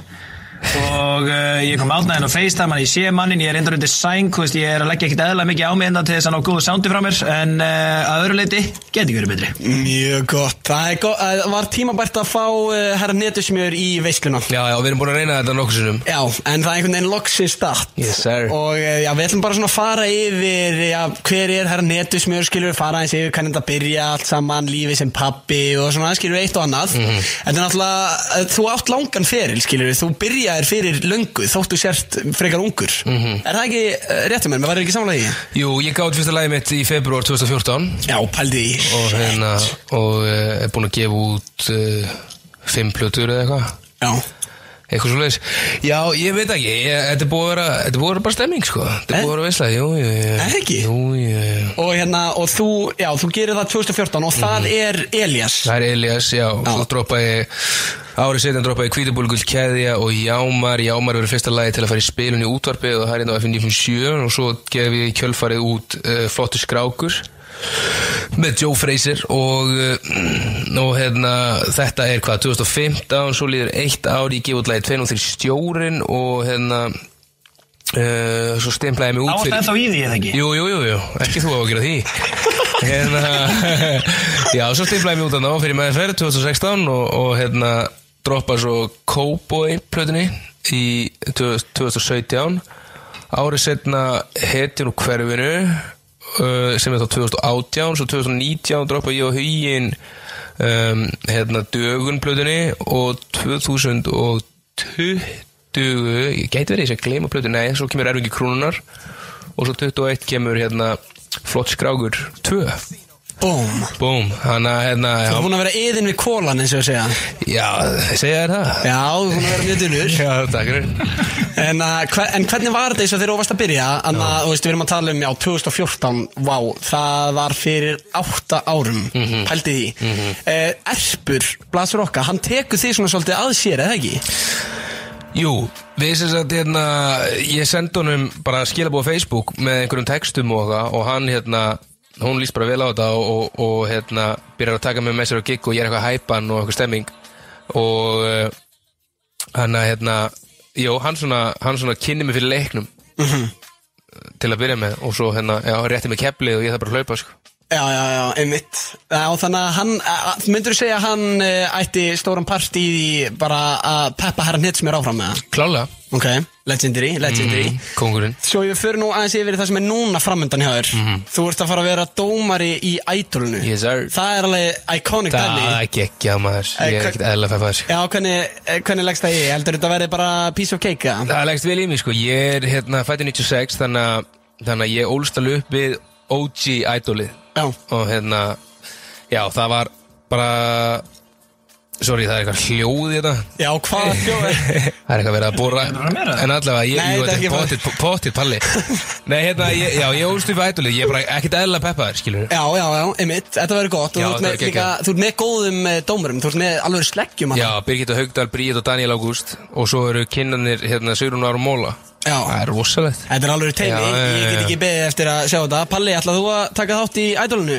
S4: Og uh, ég kom átnaðin og FaceTime hann, ég sé mannin, ég er endur undir sæng þú veist, Ég er að leggja ekkert eðla mikið á mig enda til þess að ná góðu soundi frá mér En uh, að öðru leiti, get ekki verið betri
S2: Mjög gott Það er go að, var tímabært að fá uh, herra netismjör í veisluna
S5: Já, já, við erum búin að reyna þetta nokkur sinnum
S2: Já, en það er einhvern veginn loksins start
S5: Yes, sir.
S2: Og eh, já, við ætlum bara svona að fara yfir já, Hver er herra netusmjör, skilur við fara eins yfir Hvernig þetta byrja allt saman, lífið sem pappi Og svona, skilur við eitt og annað Þetta er náttúrulega, eh, þú átt langan feril, skilur við Þú byrjaðir fyrir löngu, þóttu sért frekar ungur Er það ekki eh, rétt um mér, mér var ekki samlega í
S5: Jú, ég gáði fyrsta lagi mitt í februar 2014
S2: Já, pældi því
S5: Og hérna, og uh, er búin að gefa út uh, Fimm plötur eða eitthvað
S2: Já,
S5: Eitthvað svo Já, ég veit ekki, ég, þetta er búið að vera Þetta er búið að vera bara stemming, sko Þetta er
S2: Eh?
S5: búið að vera veisla, jú, jú, jú
S2: Er ekki?
S5: Jú, jú, jú
S2: og hérna, og þú, já, þú gerir það 2014 Og það er Elias
S5: Það er Elias, já, já. svo droppaði árið setjan droppaði kvítubólgull keðja og Jámar, Jámar verið fyrsta lagi til að fara í spilun í útvarpið og það er hérna á FN957 og svo gef ég í kjölfarið út uh, flottu skrákur með Joe Fraser og, uh, og hérna, þetta er hvað 2015, svo líður eitt ár ég gef út lagi 203 stjórin og hérna uh, svo stemplaði ég mig
S4: Þá
S5: út
S4: varst
S5: fyrir
S4: ennþá í því, eða ekki?
S5: Jú, jú, jú, jú, ekki þú á að gera því Hérna Já, svo stiflaði mjög út að ná fyrir meðferð 2016 og, og hérna droppa svo Cowboy plötunni í 2017 Árið setna Hetjun og hverfinu uh, sem er þá 2018 svo 2019 droppa ég og hugin um, hérna dögun plötunni og 2020 ég gæti verið þess að gleyma plötu, nei, svo kemur erfingi krúnunar og svo 21 kemur hérna flott skrágur 2
S2: Búm
S5: Búm, hann að hérna
S2: Þú er
S5: já,
S2: búin að vera yðin við kólan eins og að segja
S5: já, segja þér það
S2: Já, þú er búin að vera mjög dunur
S5: Já, takk fyrir
S2: En, uh, hver, en hvernig var þetta eins og þeir óvast að byrja Anna, þú veist, við erum að tala um, já, 2014 Vá, það var fyrir átta árum mm Pældi því mm Erpur, Blasur Okka, hann tekur því svona svolítið að sér, eða ekki?
S5: Jú, við sem sagt hérna ég sendi honum bara skilabóð á Facebook með einhverjum textum og það og hann hérna, hún líst bara vel á þetta og, og, og hérna, byrjar að taka mig með sér á gig og ég er eitthvað hæpan og eitthvað stemming og eh, hann að hérna, jú, hann svona hann svona kynni mig fyrir leiknum til að byrja með og svo hérna, já, rétti mig keflið og ég þarf bara að hlaupa sko
S2: Já, já, já, einmitt já, Þannig að hann, myndur þú segja að hann eh, ætti stóran part í því bara að peppa herran hitt sem er áfram með það?
S5: Klálega
S2: Ok, Mhm. legendary, legendary
S5: Kongurinn
S2: Svo ég fyrir nú aðeins yfir í það sem er núna framöndan hjá þér Þú ert að fara að vera dómari í ædolunu
S5: Mhm. Yes, sir.
S2: Það er alveg iconic
S5: Það
S2: dæmi
S5: er ekki ekki að maður
S2: Eh,
S5: Ég er
S2: hva-
S5: ekkert eðla fæfa þessu
S2: Já, hvernig, eh, hvernig leggst það í? Heldur þetta að verði bara piece of cake? eða?
S5: Það leggst vel í mig sko Ég er hérna fættur 96 Þannig að þannig að ég ólst alveg upp við OG idolið
S2: Já,
S5: Og hérna Já það var bara Sorry það er eitthvað hljóð í þetta
S2: já hvað fjóður?
S5: Það er eitthvað verið að bóra En allavega, ég,
S2: Nei, þetta
S5: jú,
S2: er
S5: þetta
S2: ekki
S5: er pottitt pottit palli Nei, hérna, ég, já, ég ólst upp að ætluleg Ég er bara ekkert eðla peppaður, skilur
S2: Já, já, já, einmitt, þetta verður gott og
S5: Já,
S2: þú, ert
S5: það
S2: með,
S5: verður
S2: líka, þú ert með góðum eh, dómurum, þú ert með alveg sleggjum
S5: Já,
S2: þarna.
S5: Birgitta Haugdal, Bríð og Daniel Ágúst Og svo eru kinnanir, hérna, Sigrun Árum Móla
S2: Já.
S5: Það er rosalegt
S2: Þetta er alveg teimi,
S5: Já, já,
S2: ég
S5: já,
S2: get
S5: já.
S2: ekki beðið eftir að sjá þetta Palli, ætlað þú að taka þátt í ædolunu?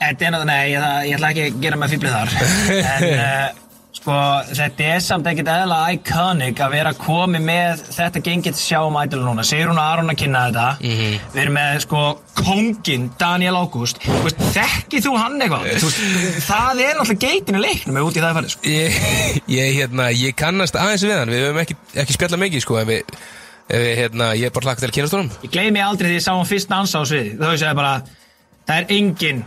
S4: Þetta er náttúrulega, nei, ég, það- ég ætla ekki að gera mig fýblið þar En uh, sko, þetta er samt ekkert eðla iconic að vera komið með þetta gengið sjá um ædol núna Sigrún og Aron að kynna þetta Við erum með sko kongin Daniel Ágúst Þú veist, Þekkið þú hann eitthvað? Þú veist, það er náttúrulega geitin í leiknum ef út í það er farið sko.
S5: Ég, ég, hérna, ég kannast aðeins við hann Við höfum ekki, ekki spjallað mikið, sko En við, en við, hérna, ég er bara hlakka til að kynast honum
S4: Ég gleymi aldrei því ég sá hann fyrst dansa á sviði Þá veist ég bara, það er enginn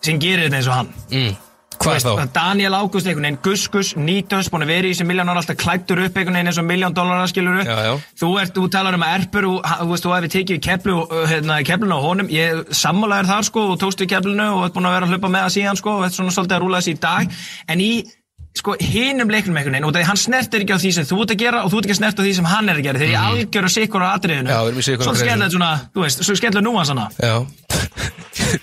S4: sem gerir þetta eins og hann
S5: mm. Hvað
S4: Þú
S5: þá?
S4: veist, Daniel Ágúst einhvern veginn, Gus Gus, Nýtöns, búin að vera í þessu miljón ára alltaf klættur upp einhvern veginn eins og miljón dólarar skilur upp.
S5: Já, já.
S4: Þú ert, þú talar um að erpur, og, ha- þú veist, þú hefði tekið keplu, uh, hérna, kepluna á honum, ég sammálaðir þar sko og tókst við keplunu og ert búin að vera að hlupa með það síðan sko og ert svona svolítið að rúla þessu í dag. En í, sko, hinum leiknum einhvern veginn, og það er hann snertir ekki á því sem þú ert að gera og þú ert ekki að snerta á því sem hann er að gera, þegar ég algjör að sikkur á atriðinu.
S5: Mhm. Já, við erum í sitthvoru
S4: Svolítið
S5: greininni.
S4: skellur svona, þú veist, svo skellur núansana.
S5: Já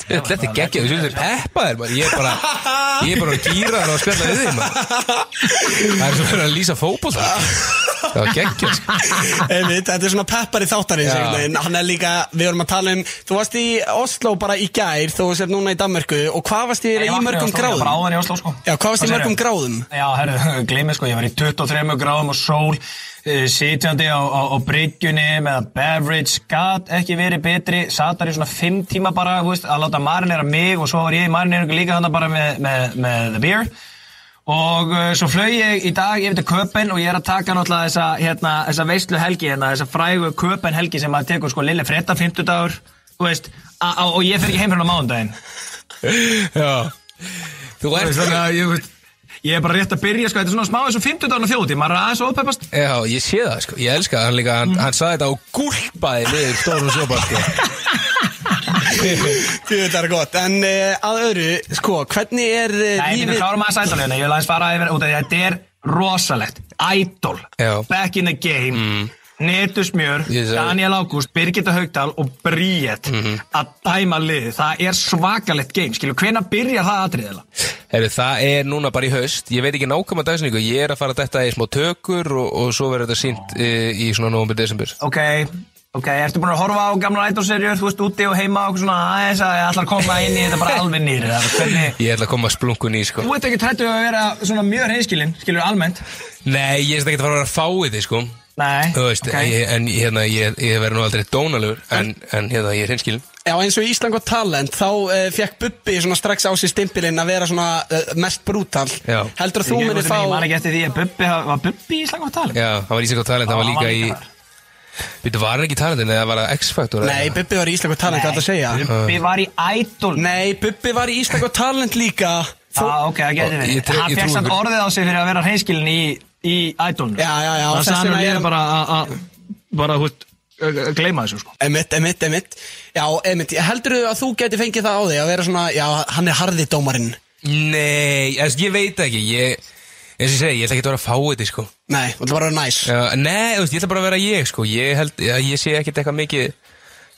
S5: Þetta er geggjað, þú séu þetta er peppaðir maður. Ég er bara, ég er bara að gýra það og spjalla við þeim maður. Það er svo verið að lýsa fótbolta Það var geggjað sko.
S2: Einmitt, þetta er svona peppari þáttarins
S5: Já.
S2: einhvern veginn. Hann er líka, við vorum að tala um Þú varst í Oslo bara í gær Þú sért núna í Danmörku Og hvað varst þið í mörgum
S4: Bara
S2: gráðum?
S4: áðan í hérna Oslo, sko.
S2: Já, hvað varst þið í
S4: Hvað
S2: mörgum
S4: segirðu?
S2: gráðum?
S4: Já, herru, gleymið sko, ég var í 23 gráðum og sól, uh, sitjandi á, á, á bryggjunni með beverage, gat ekki verið betri, satt þar í svona 5 tíma bara, þú veist, að láta marinera mig og svo var ég í marineringu líka þannig bara með, með, með the beer. Og uh, svo flög ég í dag yfir til Köpen og ég er að taka náttúrulega þessa, hérna, þessa veislu helgi, hérna, þessa frægu Köpen helgi sem maður tekur sko lille frétta 50 dagur, þú veist, a- a- og ég fer ekki heim hérna á mánudaginn.
S5: Já Þú ert
S4: Þannig að ég veit Ég er bara rétt að byrja, sko, þetta er svona smá eins og 50 dagana þjóti, maður er aðeins ópeppast
S5: Já, ég sé það sko, ég elska það, hann líka, hann, hann saði þetta og gúlpaði niður stórum sjópa sko.
S2: Jú, þetta er gott En uh, að öðru, sko, hvernig er uh,
S4: Nei, við klárum aðeins ædolina, ég vil aðeins fara yfir út af því að þetta er rosalegt Idol,
S5: Já.
S4: back in the game mm. Netusmjör,
S5: Yes, sir.
S4: Daniel Ágúst, Birgitta Haugdal og Bríett að dæma liðið, það er svakalegt game, skilju, hvenær byrjar það atriðilega?
S5: Heru, Það er núna bara í haust, ég veit ekki nákvæma dagsningu, ég er að fara þetta í smá tökur og, og svo verður þetta sínt e, í svona november, desember
S4: Ok, ok, ertu búin að horfa á gamla Idol-serjur, þú veist, úti og heima og eitthvað svona aðeins að ég ætla að koma inn í þetta bara alveg nýri, hvernig
S5: Ég ætla að koma að splungun í sko
S4: Þú ert ekki trættu að vera svona mjög reynskilin, skilur almennt
S5: Nei, ég er ekki að fara að vera að fái þið sko
S4: Nei,
S5: Þú veist,
S4: ok.
S5: ég, en hérna, ég, ég verður nú aldrei dónalur en, en hérna, ég er hinskilin
S2: Já, eins og í Ísland og talent Þá uh, fekk Bubbi svona strax á sér stimpilinn Að vera svona uh, mest brútal
S5: Já.
S2: Heldur að þú
S4: Ég- ég-
S2: munir
S4: ég-
S2: fá
S4: Ég man ekki eftir því að Bubbi ha- var Bubbi í slangum að tala
S5: Já, hann var íslensk á talent, hann var líka í Býttu, var hann ekki í talentin eða var það X-Factor? eða?
S2: Nei, Bubbi var í Ísland og talent, hvað er það að segja?
S4: Bubbi var í Idol
S2: Nei, Bubbi var í Ísland og talent líka
S4: Já,
S2: Þú...
S4: ok,
S5: Ó,
S4: það getur
S5: ég
S4: verið
S5: trú-
S4: Hann
S5: ég
S4: fekk
S5: trúi
S4: samt
S5: ykkur.
S4: orðið á sig fyrir að vera reynskilin í, í Idol
S2: Já, já, já,
S4: Það
S2: þess
S4: sagði hann
S2: vegna
S4: að ég
S2: er-
S4: er bara að- að bara, hú veist, að að gleyma þessu sko
S2: Emitt, emitt, emitt Já, emitt, heldur þú að þú geti fengið það á þig að vera svona, já, hann er harði dómarinn
S5: Nei, þess, ég veit ekki ég, eins og ég segi, ég ætla ekki að vera að fái þið sko.
S2: Nei, þú ætla bara að vera næs
S5: Já, Nei, þú veist, ég ætla bara að vera ég sko. ég, held, já, ég sé ekkert eitthvað mikið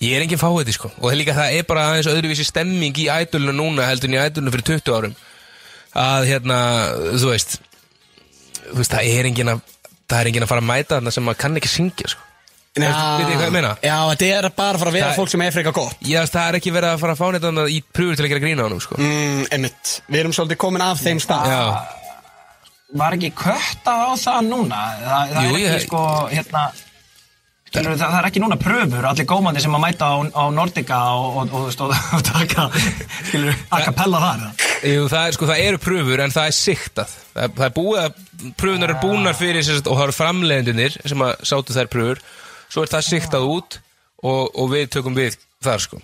S5: Ég er enginn fáið sko. og það er líka það er bara aðeins öðruvísi stemming í ædolinu núna heldur en í ædolinu fyrir 20 árum að hérna, þú veist þú veist, það er enginn að það er enginn að fara að mæta þarna sem maður kann ekki syngja sko.
S2: Já,
S5: Veist- veit ég hvað ég meina?
S2: Já, þetta er bara að fara að vera
S5: Það-
S2: fólk sem er frekar gott
S5: Já, það er ekki verið að fara að fá neitt annað í pröfur til að gera grína á honum, sko.
S2: mm, Emitt, við erum svolítið komin af þeim stað
S5: Já,
S4: Var ekki kötta á það núna? Það, það
S5: Jú,
S4: er ekki
S5: ég-
S4: sko, hérna Það, það er ekki núna pröfur, allir gómandi sem að mæta á, á Nordica og, og, og, og, og taka, skilur, a cappella þar.
S5: Jú, það, er, sko, það eru pröfur en það er siktað Það, er- það er búið að pröfunar eru búnar fyrir sérst, og það eru framleiðendunir sem að sátu þær pröfur Svo er það siktað út og, og við tökum við þar sko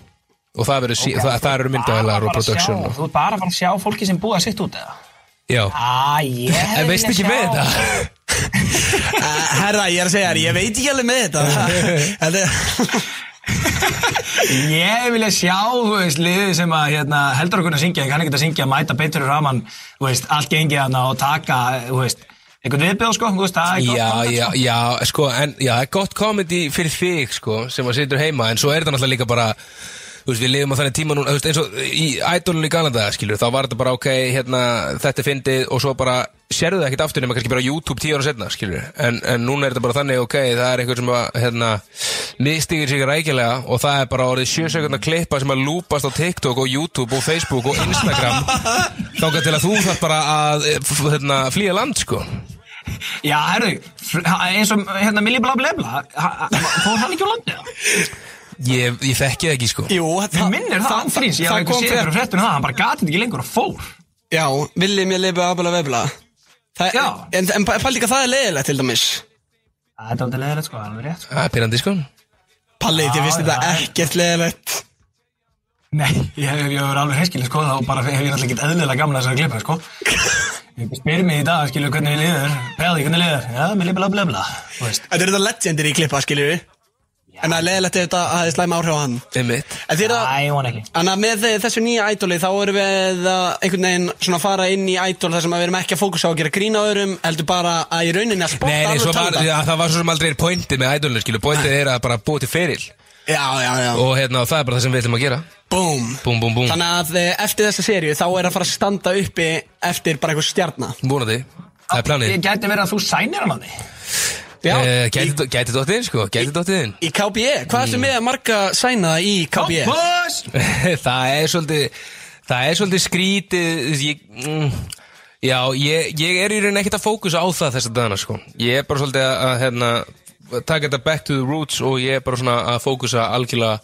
S5: Og það, verið, okay. það, það eru myndavælar
S4: Bara
S5: og
S4: að
S5: production
S4: sjá,
S5: og,
S4: Þú ert bara að fara að sjá fólki sem búið að sitt út eða?
S5: Já,
S4: Æ, ég hefði
S5: en veistu
S4: viljað
S5: ekki
S4: sjá-
S5: með þetta?
S2: Eh, Herra, ég er að segja þér, ég veit ekki alveg með þetta Þetta er-
S4: Ég vilja sjá, þú veist, liðið sem að hérna, heldur okkur að syngja, ég kann ekki að syngja, mæta beitur í raman, þú veist, allt gengið hana og taka, þú veist, einhvern viðbjóð, sko, þú veist, það er gott.
S5: Já, já,
S4: content, sko.
S5: já, sko, en, já, það er gott komedi fyrir þig, sko, sem að situr heima, en svo er þetta náttúrulega líka bara, þú veist, við lifum á þannig tíma núna, þú veist, eins og í ædolunni í Galanda, skilur, þá var þetta bara, ok, hérna, þetta er fyndið og svo bara, sérðu það ekkert aftur nema kannski bara á YouTube tíu ára setna, skilur, en, en núna er þetta bara þannig, ok, það er eitthvað sem að, hérna, mistýgir sig rækilega og það er bara orðið sjö sekundar klippa sem að lúpast á TikTok og YouTube og Facebook og Instagram, þá til að þú þarf bara að, eh, f- hérna, flýja land, sko.
S4: Já, herru, fr- ha- eins og, hérna, Milli Bla Bla Bla, ha- ha- fór hann ekki á landið?
S5: Ég, ég þekki það ekki sko
S2: Jú,
S4: Mér minnir það, án frýns, ég
S2: það
S4: hafði
S2: kom
S4: eitthvað séð
S2: frétt-
S4: fyrir fréttunum það, hann bara gatið ekki lengur og fór.
S2: Já, villi mér lifa abla vebla Það-
S4: Já.
S2: En, en pæl líka það er leiðilegt til dæmis
S4: Það er aldrei leðilegt, sko, það er alveg rétt, sko.
S5: Það er pyrrandi sko
S2: Palli, ég finnst
S4: Já,
S2: þetta
S4: já.
S2: ekkert leiðilegt
S4: Nei, ég hef ég verið alveg heiskileg sko þá bara hef ég náttúrulega ekkert eðlilega gamla þessar klippa sko Ég spyr mig í dag, skilur hvernig við liður Preði, hvernig liður? Já, mér liður bla bla bla Þú veist
S2: Þetta eru þetta legendir í klippa, skiljur við En það er leiðilegt ef þetta að það er slæma áhrif á hann
S5: Einmitt
S2: En þið er að
S4: Æ, von ekki
S2: Þannig að með þe- þessu nýja ædoli þá erum við að einhvern veginn svona fara inn í ædol þar sem að við erum ekki að fókusa á að gera grína öðrum heldur bara að í rauninni að spotta
S5: Nei, nei,
S2: alveg
S5: svo var,
S2: tanda.
S5: ja, það var svo sem aldrei er pointið með ædolunum skilu Pointið er að bara búa til feril
S2: Já, já, já,
S5: Og hérna, það er bara það sem við ætlum að gera
S2: búm
S5: Búm, búm, búm
S2: Þannig að eh, eftir þessa serju þá er að fara að standa uppi eftir bara einhver stjarna
S5: Vonandi Það er planið
S4: Ég gæti verið að þú sænir hann að því
S2: Já,
S5: Eh, Mm.
S2: í,
S5: Gæti gæti dottiðin sko, gæti dottiðin
S2: í KBE, hvað ertu með að marga sæna í E? KBE?
S4: Kompos!
S5: Það er svolítið Það er svolítið skrítið ég, mm, Já, ég, ég er í rauninni ekkert að fókusa á það þessa dagana sko Ég er bara svolítið að, að hérna taka þetta back to the roots og ég er bara svona að fókusa algjörlega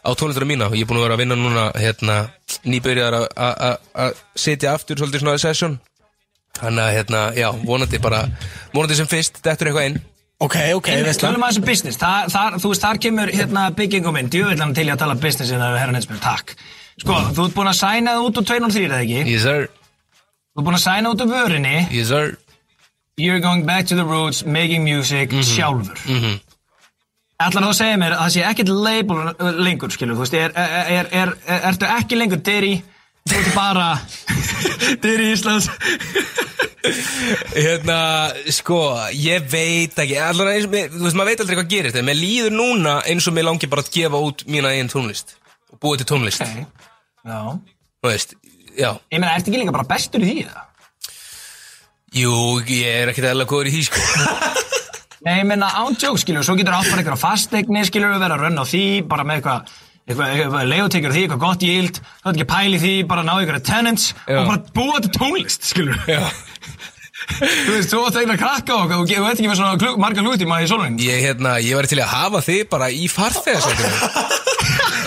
S5: á tónlistur mína og ég er búin að vera að vinna núna hérna, nýbyrjar að- að að- að sitja aftur svolítið svona í session Þannig að hérna, já, vonandi bara vonandi sem fyrst, þetta er eitthvað inn
S2: Ok, ok, veistlega
S4: Tölum aðeins um business Þa- þar, Þú veist, þar kemur hérna byggingum minn Djöfellan til ég að tala business en það er herra neinsmjör, takk Sko, þú ert búin að sæna það út úr 203 eða ekki
S5: Yes sir,
S4: Þú ert búin að sæna út úr vörinni
S5: yes sir
S4: You're going back to the roots, making music sjálfur mm -hmm. Ætlar þú að segja mér að það sé ekkert label uh, lengur, skilur, þú veist er, er, er, er, er, Ertu ekki lengur Diri Þú ert bara Diri Íslands
S5: Hérna, sko, ég veit ekki Allar eins og, mér- þú veist, maður veit aldrei hvað gerist En mér líður núna eins og mér langi bara að gefa út mína eigin tónlist Og búa til tónlist
S4: okay. Já
S5: Þú veist, já
S4: Ég meina, ertu ekki líka bara bestur í því það?
S5: Jú, ég er ekkert eðla góður í því, sko
S4: Nei, ég meina ándjók, skilur, svo getur átt bara eitthvað fastegni, skilur, vera að rönna á því bara með eitthvað eitthvað, eitthvað legotekjur því, eitthvað gott yield þú ert ekki að pæli því, bara ná ykkur tenants
S5: Já.
S4: og bara búa til tónlist, skilur
S5: Já.
S4: þú veist, þú átt eiginlega að krakka og og þú veit ekki með svona klug, marga klútíma í sólun
S5: Ég, hérna, ég væri til í að hafa þig bara í farþegarsættunum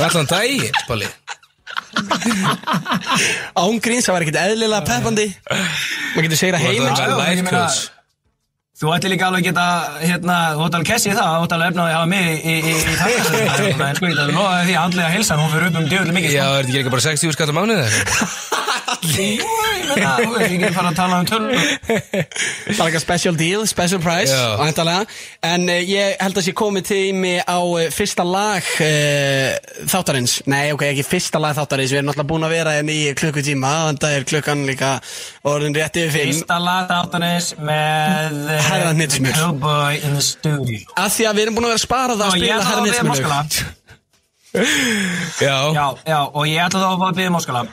S5: Allan dagi, Palli
S2: Ángríns, það var ekkert eðlilega peppandi Maður getur segir að
S5: Þú
S2: heima
S5: ert að
S4: já,
S5: vera
S4: ég
S5: life
S4: meina-
S5: coach
S4: Þú ætti líka alveg að geta, hérna, þú ætti alveg kessið það, þú ætti alveg efnaði að hafa mig í, í, í takkastöðum, en sko, ég ætla að lofa þér því að handlega heilsan, hún fyrir upp um djöðlega mikið,
S5: Já, er
S4: sko.
S5: þetta ekki líka bara 60 skatt á mánuði það?
S4: Jú, ég meina, þú veist, ég get fara að tala um tölvum.
S2: bara eitthvað special deal, special price
S5: Já.
S2: væntanlega. en uh, ég held að sé komið tími á uh, fyrsta lag uh, þáttarins, nei ok, ekki fyrsta lag þáttarins, við erum náttúrulega búin að vera hérna í klukkutíma, þannig að er klukkan líka orðin rétt yfir fimm
S4: Fyrsta lag áttanis með eh,
S2: Mm. Herra Hnittsmjör.
S4: Cowboy in the Studio.
S2: að því að við erum búin að vera að spara það að
S4: Og ég
S2: spila
S4: ætla þá að byggja
S2: herrnitsmjölu
S4: morskala.
S5: Já,
S4: Já, já, og ég ætla þá að fá að byggja morskala.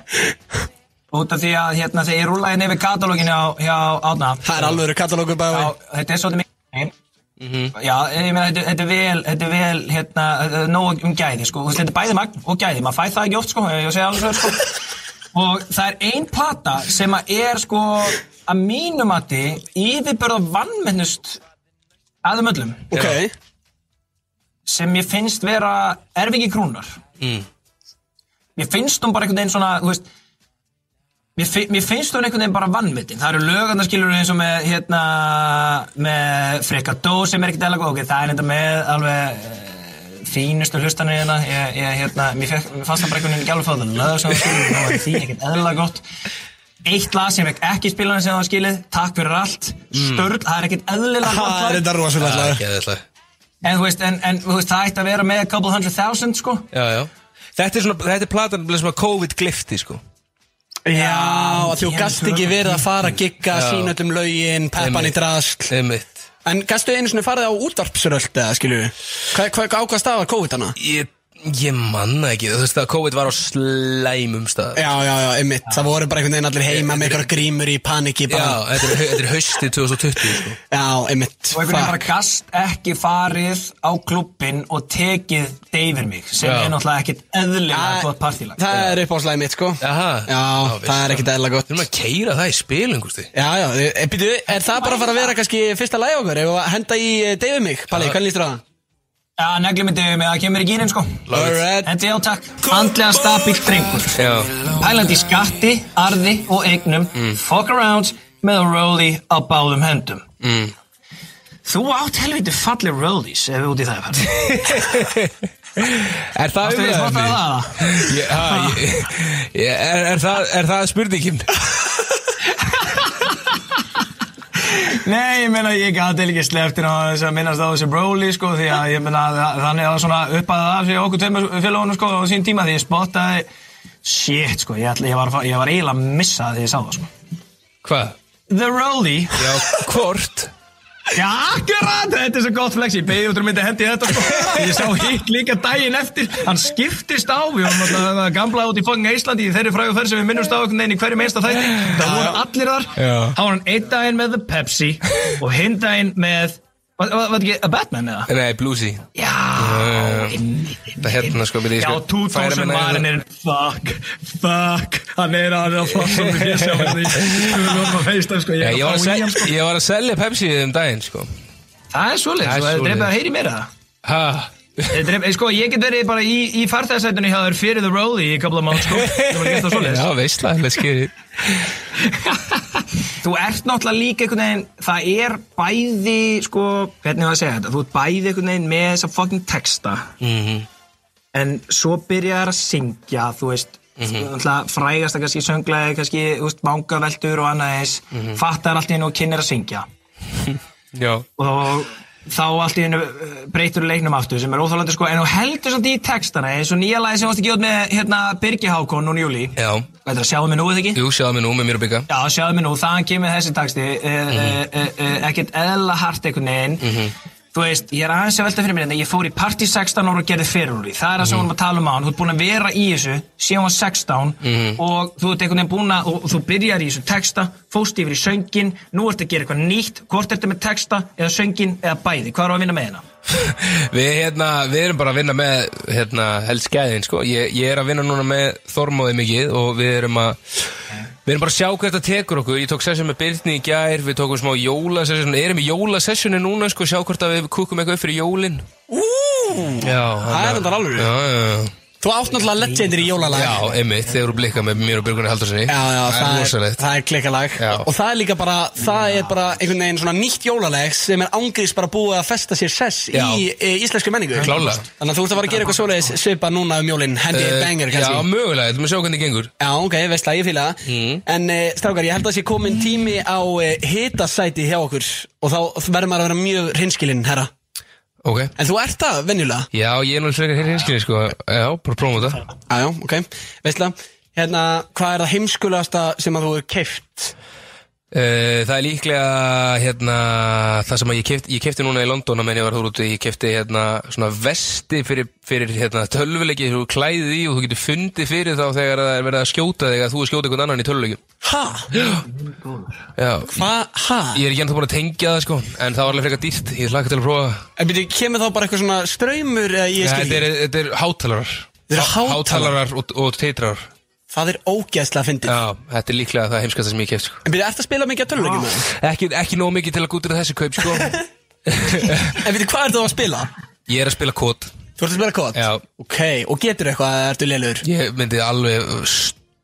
S4: Út af því að, hérna, þegar ég rúlaði nefnir katalóginu á, hjá Átna,
S2: það er alveg katalógur bæði
S4: Já, þetta er svolítið mikið Já, ég meina, þetta, þetta er vel, þetta er vel, hérna, eh, nóg um gæði, sko, Þú veist, þetta er bæði magn og gæði, maður fæ það ekki oft, sko, ég segi alveg svo, sko, og það er ein plata sem að er, sko, að mínum að þið yfirbörða vannmennust aðum öllum,
S2: ok,
S4: sem ég finnst vera erfingi krúnar mm. mér finnst hún bara einhvern veginn svona þú veist, mér, fi- mér finnst hún einhvern veginn bara vannmyndin það eru lögarnar skilur eins og með hérna, með Frikadó sem er ekkert eðla góð, ok, það er enda með alveg eh, fínustu hlustanir hérna, ég, ég, hérna, mér, fekk, mér fannst það bara einhvern veginn ekki alveg fóðan lög sem það skilur, það var því ekkert eðla gott Eitt lag sem ég fekk ekki spilaðan sem það var skilið, takk fyrir allt, störl, það er ekkert eðlilega gott
S2: Það Mm. er Ah,
S4: lag.
S2: þetta rosalega
S5: Það er
S2: lag.
S5: ekki aðeinslega
S4: En þú veist, en, en þú veist, það ætti að vera með a couple hundred thousand, sko.
S5: Já, já Þetta er svona, þetta er platan sem að COVID glifti, sko
S2: Já, að þú
S4: Ég
S2: gast
S4: held
S2: ekki
S4: að-
S2: verið að fara að gigga, sína öllum lögin, peppan í
S5: Einmitt.
S2: drast
S5: Einmitt
S2: En gastu einu svona farið á útvarpsröld eða skilju? Hvað hva, á hvað stað var COVID hana?
S5: Ég, ég manna ekki, þú veist að COVID var á slæmum stað
S2: Já, já, já, einmitt, það voru bara einhvern veginn allir heima með einhverja grímur í paniki
S5: Já,
S2: bara.
S5: þetta er, þetta er haustið 2020, sko
S2: Já, einmitt,
S4: Og einhvern veginn bara
S2: fuck.
S4: gast ekki farið á klubbin og tekið deyfir mig, sem
S5: Já.
S4: er náttúrulega ekkit eðlilega
S2: Æ,
S4: gott partílag.
S2: Það er uppáðslæði mitt sko
S5: Jaha
S2: Já, það er ekkert eðla gott
S5: Við erum að keira það í spilum, gústi
S2: Já, já, e, býtu, er það bara að fara að vera kannski fyrsta lagi okkur ef að henda í eh, deyfi mig, Palli, hvernig lístur á það?
S4: Já, negli mig deyfir mig, það kemur í gýrin, sko.
S2: Alright.
S4: En já, takk. Andlega stabíl drengur.
S5: Já, Mm.
S4: Pælandi í skatti, arði og eignum. Fuck around með rolli á báðum höndum.
S5: Mm.
S4: Þú átt helviti falli rollis ef við út í það er fært.
S5: er það
S4: Þú veist,
S5: umræðan?
S4: um það það?
S5: Ég- ha, ég- ég- Er er það, er það spurningin?
S4: Nei, ég meina ég gæti ekki sleftin á þess að minnast á þessi Broly sko því að ég meina þa- þannig að svona uppaði það fyrir okkur tveimur félagunum sko á sín tíma því ég spottaði shit sko, ég, ætla, ég, var, að fá- ég var eiginlega að missa það því ég sá það sko
S5: Hvað?
S4: The Broly
S5: Já, hvort?
S4: Já, akkurat, þetta er svo gott flex Ég beigði út um myndi hendi þetta sko Ég sá hitt líka daginn eftir Hann skiptist á, við varum alltaf að gamla út í fucking Íslandi Í þeirri fræðu ferð sem við minnumst á okkur Nein í hverjum einsta þætti Það voru allir þar
S5: Já.
S4: Há var hann einn daginn með The Pepsi Og hinn daginn með Var var- var þetta ekki a Batman eða?
S5: Nei, bluesy
S4: Já,
S5: Það er hérna, sko, byrja
S4: Já, 2000 marinn er Fuck, fuck Hann er að flossa með fyrir sjá Við vorum að feista sko
S5: Já,
S4: Ég
S5: ég, var að
S4: er að fá í hann
S5: selja,
S4: sko
S5: ég var að selja Pepsi um daginn sko.
S4: Það er svoleiðis,
S5: Það er
S4: þú hefur
S5: svoleiðis.
S4: dreipið að heyri mér það
S5: Ha,
S4: Ég dref, sko, ég get verið bara í, í farþæðasætunni hjá þér fyrir the road í kapla mánu sko Það var gett það
S5: Já,
S4: svoleiðis.
S5: veistla, let's get it
S4: Þú ert náttúrulega líka einhvern veginn Það er bæði, sko Hvernig var að segja þetta? Þú ert bæði einhvern veginn með þessa fucking texta
S5: Mhm.
S4: En svo byrjar að syngja Þú veist,
S5: Mhm.
S4: mm -hmm. frægasta kannski sönglaði, kannski, þú veist, bangaveldur og annað eins
S5: Mhm.
S4: Fattar allt í hennu og kynir að syngja
S5: Já,
S4: og þá allt í hennu breytur leiknum aftur sem er óþálandi sko en þú heldur samt í textana eins og nýja lagi sem varst að gefa út með hérna Birgi Hákon núna í júli
S5: já,
S4: Þetta er að sjáðu mig nú eða ekki?
S5: jú, sjáðu mig nú með mér að bygga
S4: Já, sjáðu mig nú, þaðan kemur þessi texti uh,
S5: Mhm.
S4: uh, uh, uh, ekkert eðla hart einhvern veginn Þú veist, ég er aðeins að velta fyrir mér þetta, ég fór í partí 16 ára og gerði fyrir úr því, það er það sem
S5: Mhm.
S4: við vorum að tala um á hann, þú ert búin að vera í þessu síðan var 16
S5: Mhm.
S4: og þú ert einhvern veginn búin að, og, og þú byrjar í þessu texta, fóst yfir í söngin, nú ert að gera eitthvað nýtt, hvort ertu með texta eða söngin eða bæði, hvað eru að vinna með hérna?
S5: Við, hérna, við erum bara að vinna með hérna, helskæðin sko. ég, ég er að vinna núna með Þormóði mikið og við erum að Við erum bara að sjá hvað þetta tekur okkur Ég tók session með Byrni í gær Við tókum smá jólasession Erum í jólasessioni núna sko, Sjá hvort að við kúkum eitthvað upp fyrir jólin Ú, já, hérna.
S2: Það er þetta alveg
S5: Já, já, já
S2: Þú átt náttúrulega legendir í jólalag
S5: Já, einmitt, þeir eru blikkað með mér og Björgunni Haldurssoni
S2: Já, já,
S5: það er
S2: það er,
S5: rosalegt
S2: það er klikkalag
S5: Já.
S2: Og það er líka bara, það er bara einhvern veginn svona nýtt jólaleg sem er ángrís bara búið að festa sér sess
S5: Já.
S2: í e, íslensku menningu
S5: Klálega.
S2: Þannig að þú ert að fara að gera eitthvað svoleiðis svipa núna um jólin, hendi
S5: Eh,
S2: banger
S5: Já,
S2: kannski
S5: mögulega, þetta með sjá hvernig gengur
S2: Já, ok, veist það, ég fýla það
S5: Mm.
S2: En uh, strákar, ég held að það sé komin tími á uh, hitasæti hjá okkur Og þá verður maður að vera mjög hreinskilinn, herra
S5: Ok
S2: En þú ert það, venjulega
S5: Já, ég er nú frekar hér hinskilin, sko Já, bara prófum þetta
S2: Já, já, ok, veist það Hérna, hvað er það heimskulegasta sem að þú er keift?
S5: Eh, Það er líklega, hérna, það sem að ég kefti, ég kefti núna í London að menn ég var þúr úti Ég kefti, hérna, svona vesti fyrir, fyrir hérna, tölvuleiki Þú klæðið í og þú getur fundið fyrir þá þegar það er verið að skjóta þig að þú er skjóta einhvern annan í tölvuleikum
S2: Ha?
S5: Já,
S2: Hva? Ha?
S5: ég er ekki ennþá búin að tengja það, sko En það var alveg frekar dýrt, ég hlakka til að prófa það.
S2: En byrju, kemur þá bara eitthvað svona eh, ströymur eða ég skil
S5: Þetta
S2: ekki?
S5: er, þetta er hátalarar
S2: Þetta eru hátalarar.
S5: Hátalarar og, og teitrar
S2: Það er ógeðslega fyndið
S5: Já, þetta er líklega það heimskasta sem ég keft sko.
S2: En byrju, ert að spila mikið að tölulegjum með það?
S5: ekki, ekki nóg mikið til að gútur þessi kaup sko.
S2: En byrju, hvað er það að spila?
S5: Ég er að spila kót
S2: Þú ert að spila kót?
S5: Já.
S2: Ok, og getur eitthvað eða ertu lélur?
S5: Ég myndi alveg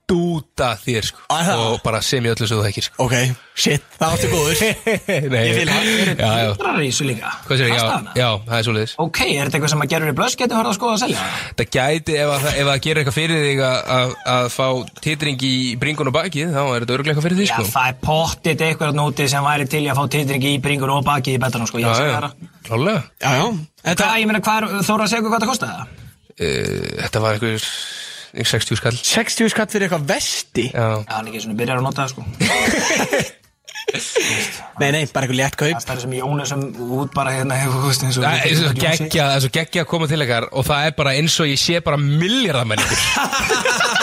S5: stúta þér sko
S2: Á, það?
S5: Og bara sem ég öllu sem þú þekkir sko
S2: Ok, shit, það áttu góður
S5: Nei,
S2: Ég fíla það.
S5: Já, já
S4: Hildrar í þessu líka
S5: Hvað sér, já,
S4: Aðstæðna.
S5: já, það er svoleiðis
S4: Ok, er þetta eitthvað sem að gerur í blöss getur horfða að skoða að selja?
S5: Það gæti, ef að, ef að gera eitthvað fyrir þig að, að, að fá titring í bringun og bakið Þá er þetta örglega eitthvað fyrir þig
S4: Já,
S5: sko
S4: það er pottit eitthvað þarna úti sem væri til í að fá titring í bringur og baki í betanum sko, ég sé það
S5: klálega
S2: Já, já
S4: Hvað, ég meina, hvað er- Þóra að segja okkur hvað það kostaði það?
S5: Eh, Þetta var einhver, einhver 60 skall
S2: 60 skatt fyrir eitthvað vesti
S5: Já,
S4: Já, hann er ekki svona byrjar að nota það sko
S2: Nei, nei, bara eitthvað létt kaup
S4: Það er sem Jónu sem út bara hérna hefur veist, eins og
S5: Það er svo geggja, það er svo geggja að koma til ykkar og það er bara eins og ég sé bara miljardamenningur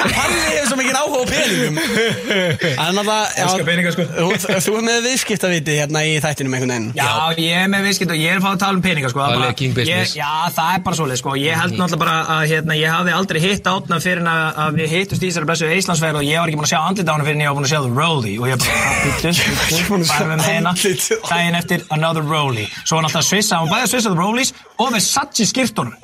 S2: Palli hefur svo mikið áhuga á peningum Þannig að það
S4: Elskar peninga, sko.
S2: Þú, þú er með viðskiptaviti hérna í þættinum einhvern veginn
S4: Já, ég er með viðskipt og ég er að fá að tala um peninga sko.
S5: Það er
S4: bara-
S5: king business.
S4: ég, Já, það er bara svoleið sko. Ég held náttúrulega bara að hérna, ég hafði aldrei hitt átna fyrir en að, að við hittust í þessari blessu Íslandsvegar og ég var ekki búin að sjá andlit á hana fyrir en ég var búin að sjá The Rolly og ég bara, "Ah, bíddu, bíddu,
S2: sjá
S4: bara með meina
S2: andlit.
S4: daginn eftir Another Rolly Svo var hann alltaf að svissa, hann var bæði að svissa The Rollies og Versace skýrtunum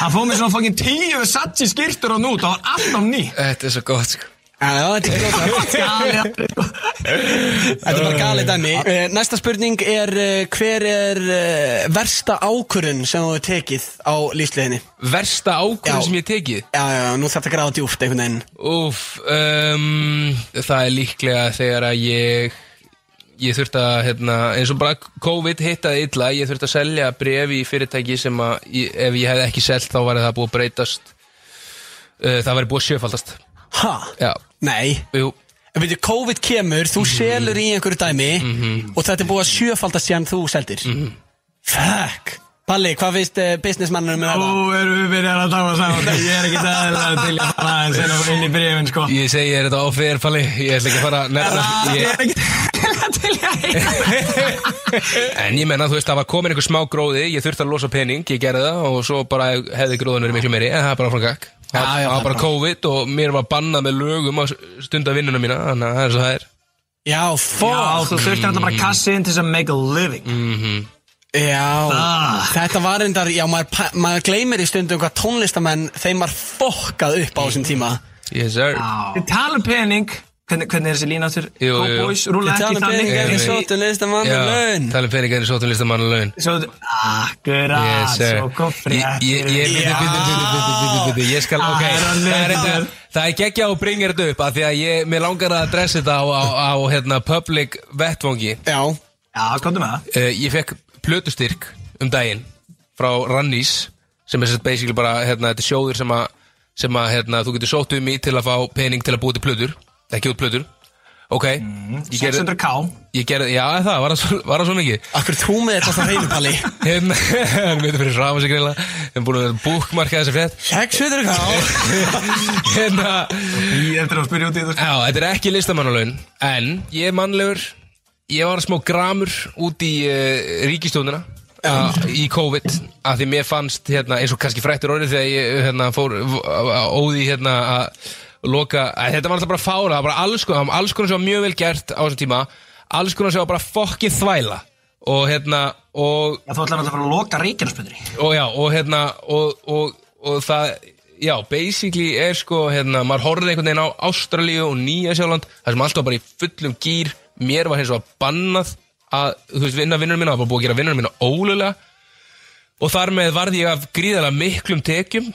S4: Hann fóð mér svona fokkin tíu Versace skýrtur og nú, það var alltaf ný
S5: Þetta er svo gott sko
S2: Já, já, þetta er gróta Þetta er bara galið dæmi Eh, Næsta spurning er eh, Hver er eh, versta ákvörun sem þú hefur tekið á lífsliðinni?
S5: Versta
S2: Já.
S5: ákvörðu sem ég hef tekið
S2: Já, já, nú þarf það að gráða djúft einhvern veginn
S5: Úf, um, það er líklega þegar að ég ég þurfti að, hérna, eins og bara COVID hittaði illa, ég þurfti að selja brefi í fyrirtæki sem að ég, ef ég hefði ekki selgt þá væri það búið að breytast uh, það væri búið að sjöfaldast
S2: Ha?
S5: Já,
S2: Nei
S5: jú,
S2: En veitir, COVID kemur, þú selur í einhverju dæmi og þetta er búið að sjöfaldast síðan þú seldir Fuck Palli, hvað finnst uh, businessmannunum með það?
S4: Nú erum við byrjar að tala saman því Ég er ekki aðeins til að fara aðeins inn á- inn í brefin sko
S5: ég segi er þetta áfyrir falli, ég ætla ekki að fara að nefna ég,
S4: ekki til að
S5: en ég menna, þú veist, það var komin einhver smá gróði ég þurfti að losa pening, ég gerði það og svo bara hefði gróðan verið miklu meiri en það er bara áfram gag það
S2: Já, já,
S5: það
S2: það
S5: var
S2: er
S5: bara COVID og mér var bannað með lögum að stunda vinnuna mína þannig að það er svo það er
S2: Já,
S4: Já,
S2: fuck
S4: þú þurftir alltaf bara kassi inn til þess að make a living
S2: Já,
S4: Ah.
S2: þetta var reyndar, já, maður, pa- maður gleymir í stundum hvað tónlistamenn, þeim var fokkað upp á þessum tíma
S5: Yes sir
S4: Þið tala um pening Hvernig, hvernig er þessi lína þurr?
S5: Mm. Jú, jú, jú.
S4: Cowboys, rúla
S2: Þið
S4: ekki
S2: tala um
S4: þannig
S2: peningar í
S5: Nei.
S2: sótum listamann
S5: Já,
S2: og laun
S5: tala um peningar í sótum listamann og laun
S4: Svo, akkurat,
S5: Yes sir
S4: Ah, svo kom
S5: Ég-
S4: fréttir
S5: Ég, ég, bitu, bitu, bitu, bitu, bitu, bitu Ég skal,
S4: Ah,
S5: ok
S4: er hann
S5: Það er
S4: leiður?
S5: þetta Það er geggja og bringir þetta upp af Því að ég, mér langar að adressa þetta á, á, á hérna, public vettvangi
S2: Já,
S4: Já, komdu með það
S5: uh, Ég fekk plötustyrk um daginn Frá Rannís Sem er sett basically bara, hérna, þetta er sjóður sem að Sem að, hérna, þú getur sótt um í til að fá pening til að búa til plötur Ekki út plötur Ok Ég gerði,
S4: 600k
S5: ég gerði, já það, var það svo, var það svo mikið
S2: akkur þú með þetta það reynu, Palli
S5: hérna, hann veitur fyrir ráma sig greinlega hann búin að búkmarka þessi frétt
S2: 600 ká
S5: hérna,
S4: Ég eftir að spyrja út í þetta
S5: já, þetta er ekki listamannalaun en ég er mannlegur ég var smá gramur út í uh, ríkistjónuna uh, í COVID af því mér fannst hérna, eins og kannski frættur orðið þegar ég hérna, fór á- á- óði hérna að loka, að þetta var alltaf bara fála það var bara alls konar, það var alls konar sem var mjög vel gert á þessum tíma, alls konar sem var bara fokkið þvæla og hérna og
S4: Já, þú ætlar náttúrulega að fara að loka ríkinu spyrir
S5: og já, og hérna og, og, og það, já, basically er sko, hérna, maður horfði einhvern veginn á Ástralíu og Nýja Sjáland það sem allt var bara í fullum gýr mér var hins og að bannað að, þú veist, vinna vinnunum mína, það var búið að gera vinnunum mína ólulega og þar með varði ég af gríðalega miklum tekjum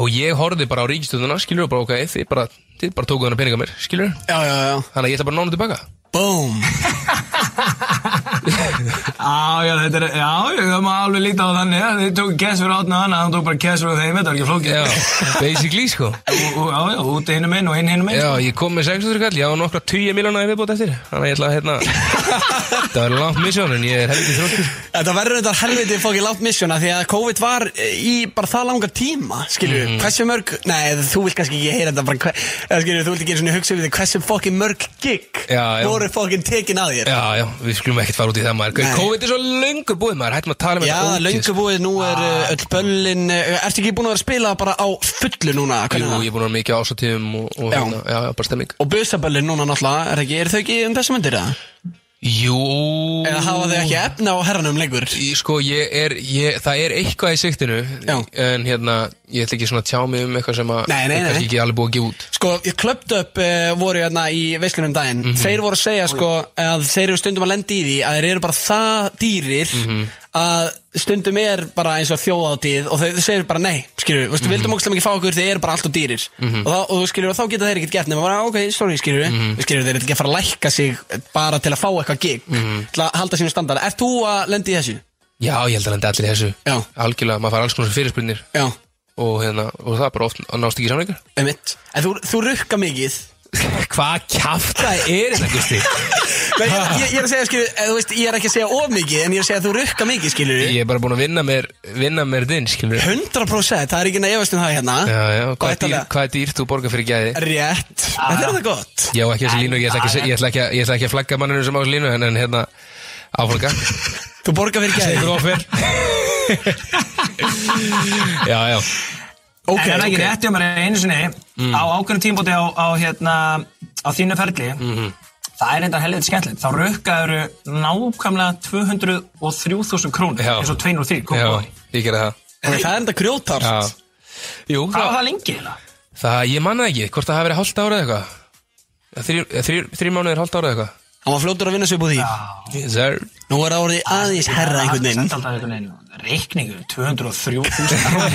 S5: og ég horfði bara á ríkistöðuna, skilur, og bara ok, þið bara þið bara tókuð hana peninga mér, skilur
S2: Já, já, já,
S5: þannig að ég ætla bara að nána tilbaka
S2: boom
S4: Já, já, þetta er, já, það má alveg líta á þannig að Þið tók kess fyrir átna hann, hann tók bara kess fyrir þeim, þetta var ekki flókið
S5: já, basically, sko
S4: Og- og- Já, já, úti hinum einn og hinn hinum einn
S5: Já, ég kom með 600 kall, ég á nokkra 10 miljóna í viðbót eftir Þannig að ég ætla að hérna Það var langt misjón en ég er helviti þróttur
S2: Þetta verður þetta helviti fókið látt missjona því að COVID var eh, í bara það langa tíma skilju,
S5: Mhm.
S2: hversu mörg, nei þú vilt kannski ekki heyra þetta bara hver, skilju, þú vilt ekki einu sinni hugsa við þig hversu fókið mörg gig
S5: Já, já.
S2: voru fókið tekin að þér
S5: Já, já, við skulum ekkert fara út í það maður
S2: Nei.
S5: COVID er svo löngu búið maður, hættum að tala um
S2: Já,
S5: þetta Ah,
S2: löngu búið, nú er uh, öll böllin uh, Ertu ekki búin að vera að spila bara á fullu núna? hvernig er það?
S5: Jú, ég er búin að vera mikið ásatíðum og, og
S2: Já.
S5: hérna, já, já, bara stemming
S2: Og busaböllin núna náttúrulega, er, ekki, er þau ekki um þessum myndir eða?
S5: Jú
S2: Eða hafa þau ekki efna á herranum lengur
S5: Í- Sko, ég er, ég, það er eitthvað í siktinu
S2: Já.
S5: En hérna, ég ætla ekki svona að tjá mig um eitthvað sem að
S2: Nei, nei,
S5: er
S2: nei.
S5: kannski ekki alveg búið að gefa út
S2: Sko, ég klöpt upp uh, voru hérna í veislunum daginn Þeir voru að segja sko að þeir eru stundum að lenda í því að þeir eru bara það dýrir að stundum er bara eins og þjóðátíð og þau segir bara nei, skilur við mm -hmm. vildum ógstlega mikið fá okkur, þeir eru bara allt og dýrir og, þá, og skilur við, þá geta þeir ekkert gert nema bara "Ah, ok, sorry, skilur við, skilur við, þeir eru ekki að fara að lækka sig bara til að fá eitthvað gig til að halda sínum standard. Er þú að lenda í þessu?
S5: Já, ég held að hann allir í þessu
S2: Já.
S5: Algjörlega, maður fær alls konar fyrirspurnir
S2: Já,
S5: og, hérna, og það er bara oft að nást ekki samleikar
S2: einmitt. En þú, þú rukka mikið
S5: Hvað kjafta er þetta, Gusti?
S2: Nei, ég, ég, ég er að segja, skilur, eða, þú veist, ég er ekki að segja of mikið en ég er að segja að þú rukka mikið, skilur
S5: Ég er bara búin að vinna mér, vinna mér þinn, skilur
S2: 100% það er ekki nefnast um það hérna
S5: Já, já, hvað er, dýr,
S2: Gættalega.
S5: hvað er dýr þú borgar fyrir gæði?
S2: Rétt,
S4: Ah.
S2: þetta er það gott
S5: Já, ekki þessi línu, ég ætla ekki, að- ég ætla ekki, að- ég ætla ekki að flagga manninu sem á þessu línu En, en hérna, áflagga
S2: Þú borgar fyrir
S5: Segðu
S2: gæði
S5: grófir Já, já
S4: en það er ekki rétt hjá mér einu sinni
S5: Mm.
S4: á ákveðnum tímbóti á, á, hérna, á þínu ferli
S5: Mhm.
S4: það er enda helviti skemmtilegt þá rukkaður nákvæmlega 203.000 krónur
S5: Já.
S4: eins og 2 og 3 kom
S5: Já,
S4: bóði
S5: ég gerði það
S2: Ok, Það er enda
S5: Já
S2: grjótart
S5: Jú,
S4: hvað
S5: það,
S4: var það lengi eða?
S5: það, ég manna ekki, hvort það hafi verið hálft ára eða eitthvað Þrjir, þrjir, þrjir mánuðir hálft ára eða eitthvað
S2: Hann var fljótur að vinna sig upp úr því
S5: Yes, sir
S2: Nú er það orðið aðeins herra einhvern veginn
S4: Senda alltaf einhvern veginn reikningu 203.000 krónur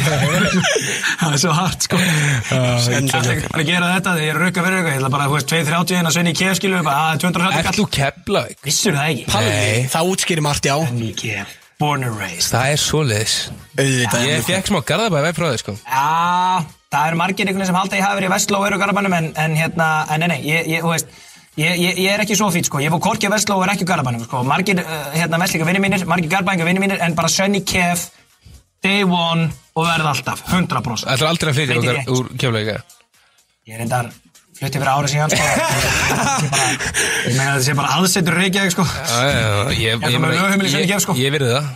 S4: það er svo hart sko Það er ekki bara að gera þetta þegar ég er að rukka fyrir eitthvað ég ætla bara, þú veist, 230 en að sveina hérna, í kef skilu bara, "Ah, að 230
S5: Ert
S4: kall
S5: þú keflavík?
S4: vissur það ekki
S2: Palli, það útskýri margt já
S4: Mikið, born and raised
S5: Það er svoleiðis
S2: Auðvitað
S5: Ég fekk smá garðabæði veg frá þau sko
S4: Já, það eru margir einhvern veginn sem halda að ég hafi verið í Vestló og eru Garabannum en, en hérna, en nei, nei, ég, ég, þú veist, ég, ég, ég er ekki svo fýt sko, ég fór Korki á Vestló og er ekki á Garabannum sko, margir uh, hérna vestlíka vinni mínir, margir Garabænga vinni mínir en bara Sunny Kef, Day One og verð alltaf, 100%.
S5: Það er aldrei að flytja
S4: Veit
S5: okkar
S4: ekki.
S5: úr keflavík
S4: Ég er endar flutti fyrir árið síðan sko, ég bara- ég meina þetta sé bara aðsetur Reykjavík sko.
S5: Já, já, já, Ég
S4: Ég ætla
S5: ég
S4: með
S5: meina,
S4: lögheimili sem
S5: ég-
S4: ég gef, sko.
S5: ég virði það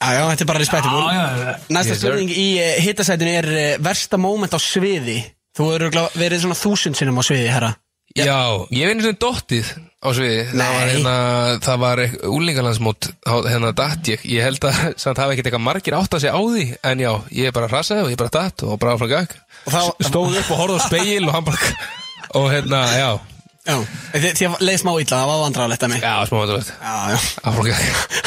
S2: Já, já, þetta er bara
S4: Já,
S2: respektabúl
S4: já, já.
S2: Næsta
S5: Yes, sir.
S2: spurning í eh, hitasætinu er eh, versta moment á sviði Þú eru örugglega verið svona þúsund sinnum á sviði, herra
S5: Já, ég veit eins og dottið á sviði Það var,
S2: Nei.
S5: hérna, það var úlingalandsmót á- hérna datt ég Ég held að samt hafa ekkert eitthvað margir átt að segja á því En já, ég bara rasaði og ég bara datt og bara áfram gag
S2: Og þá-
S5: Stóð upp og horfði á speil og hann bara Og hérna, já,
S2: Já, þið þið leið smá illa, það var vandrarlegt að mig
S5: já, smá vandrætt
S2: Já, já,
S5: Áfram gag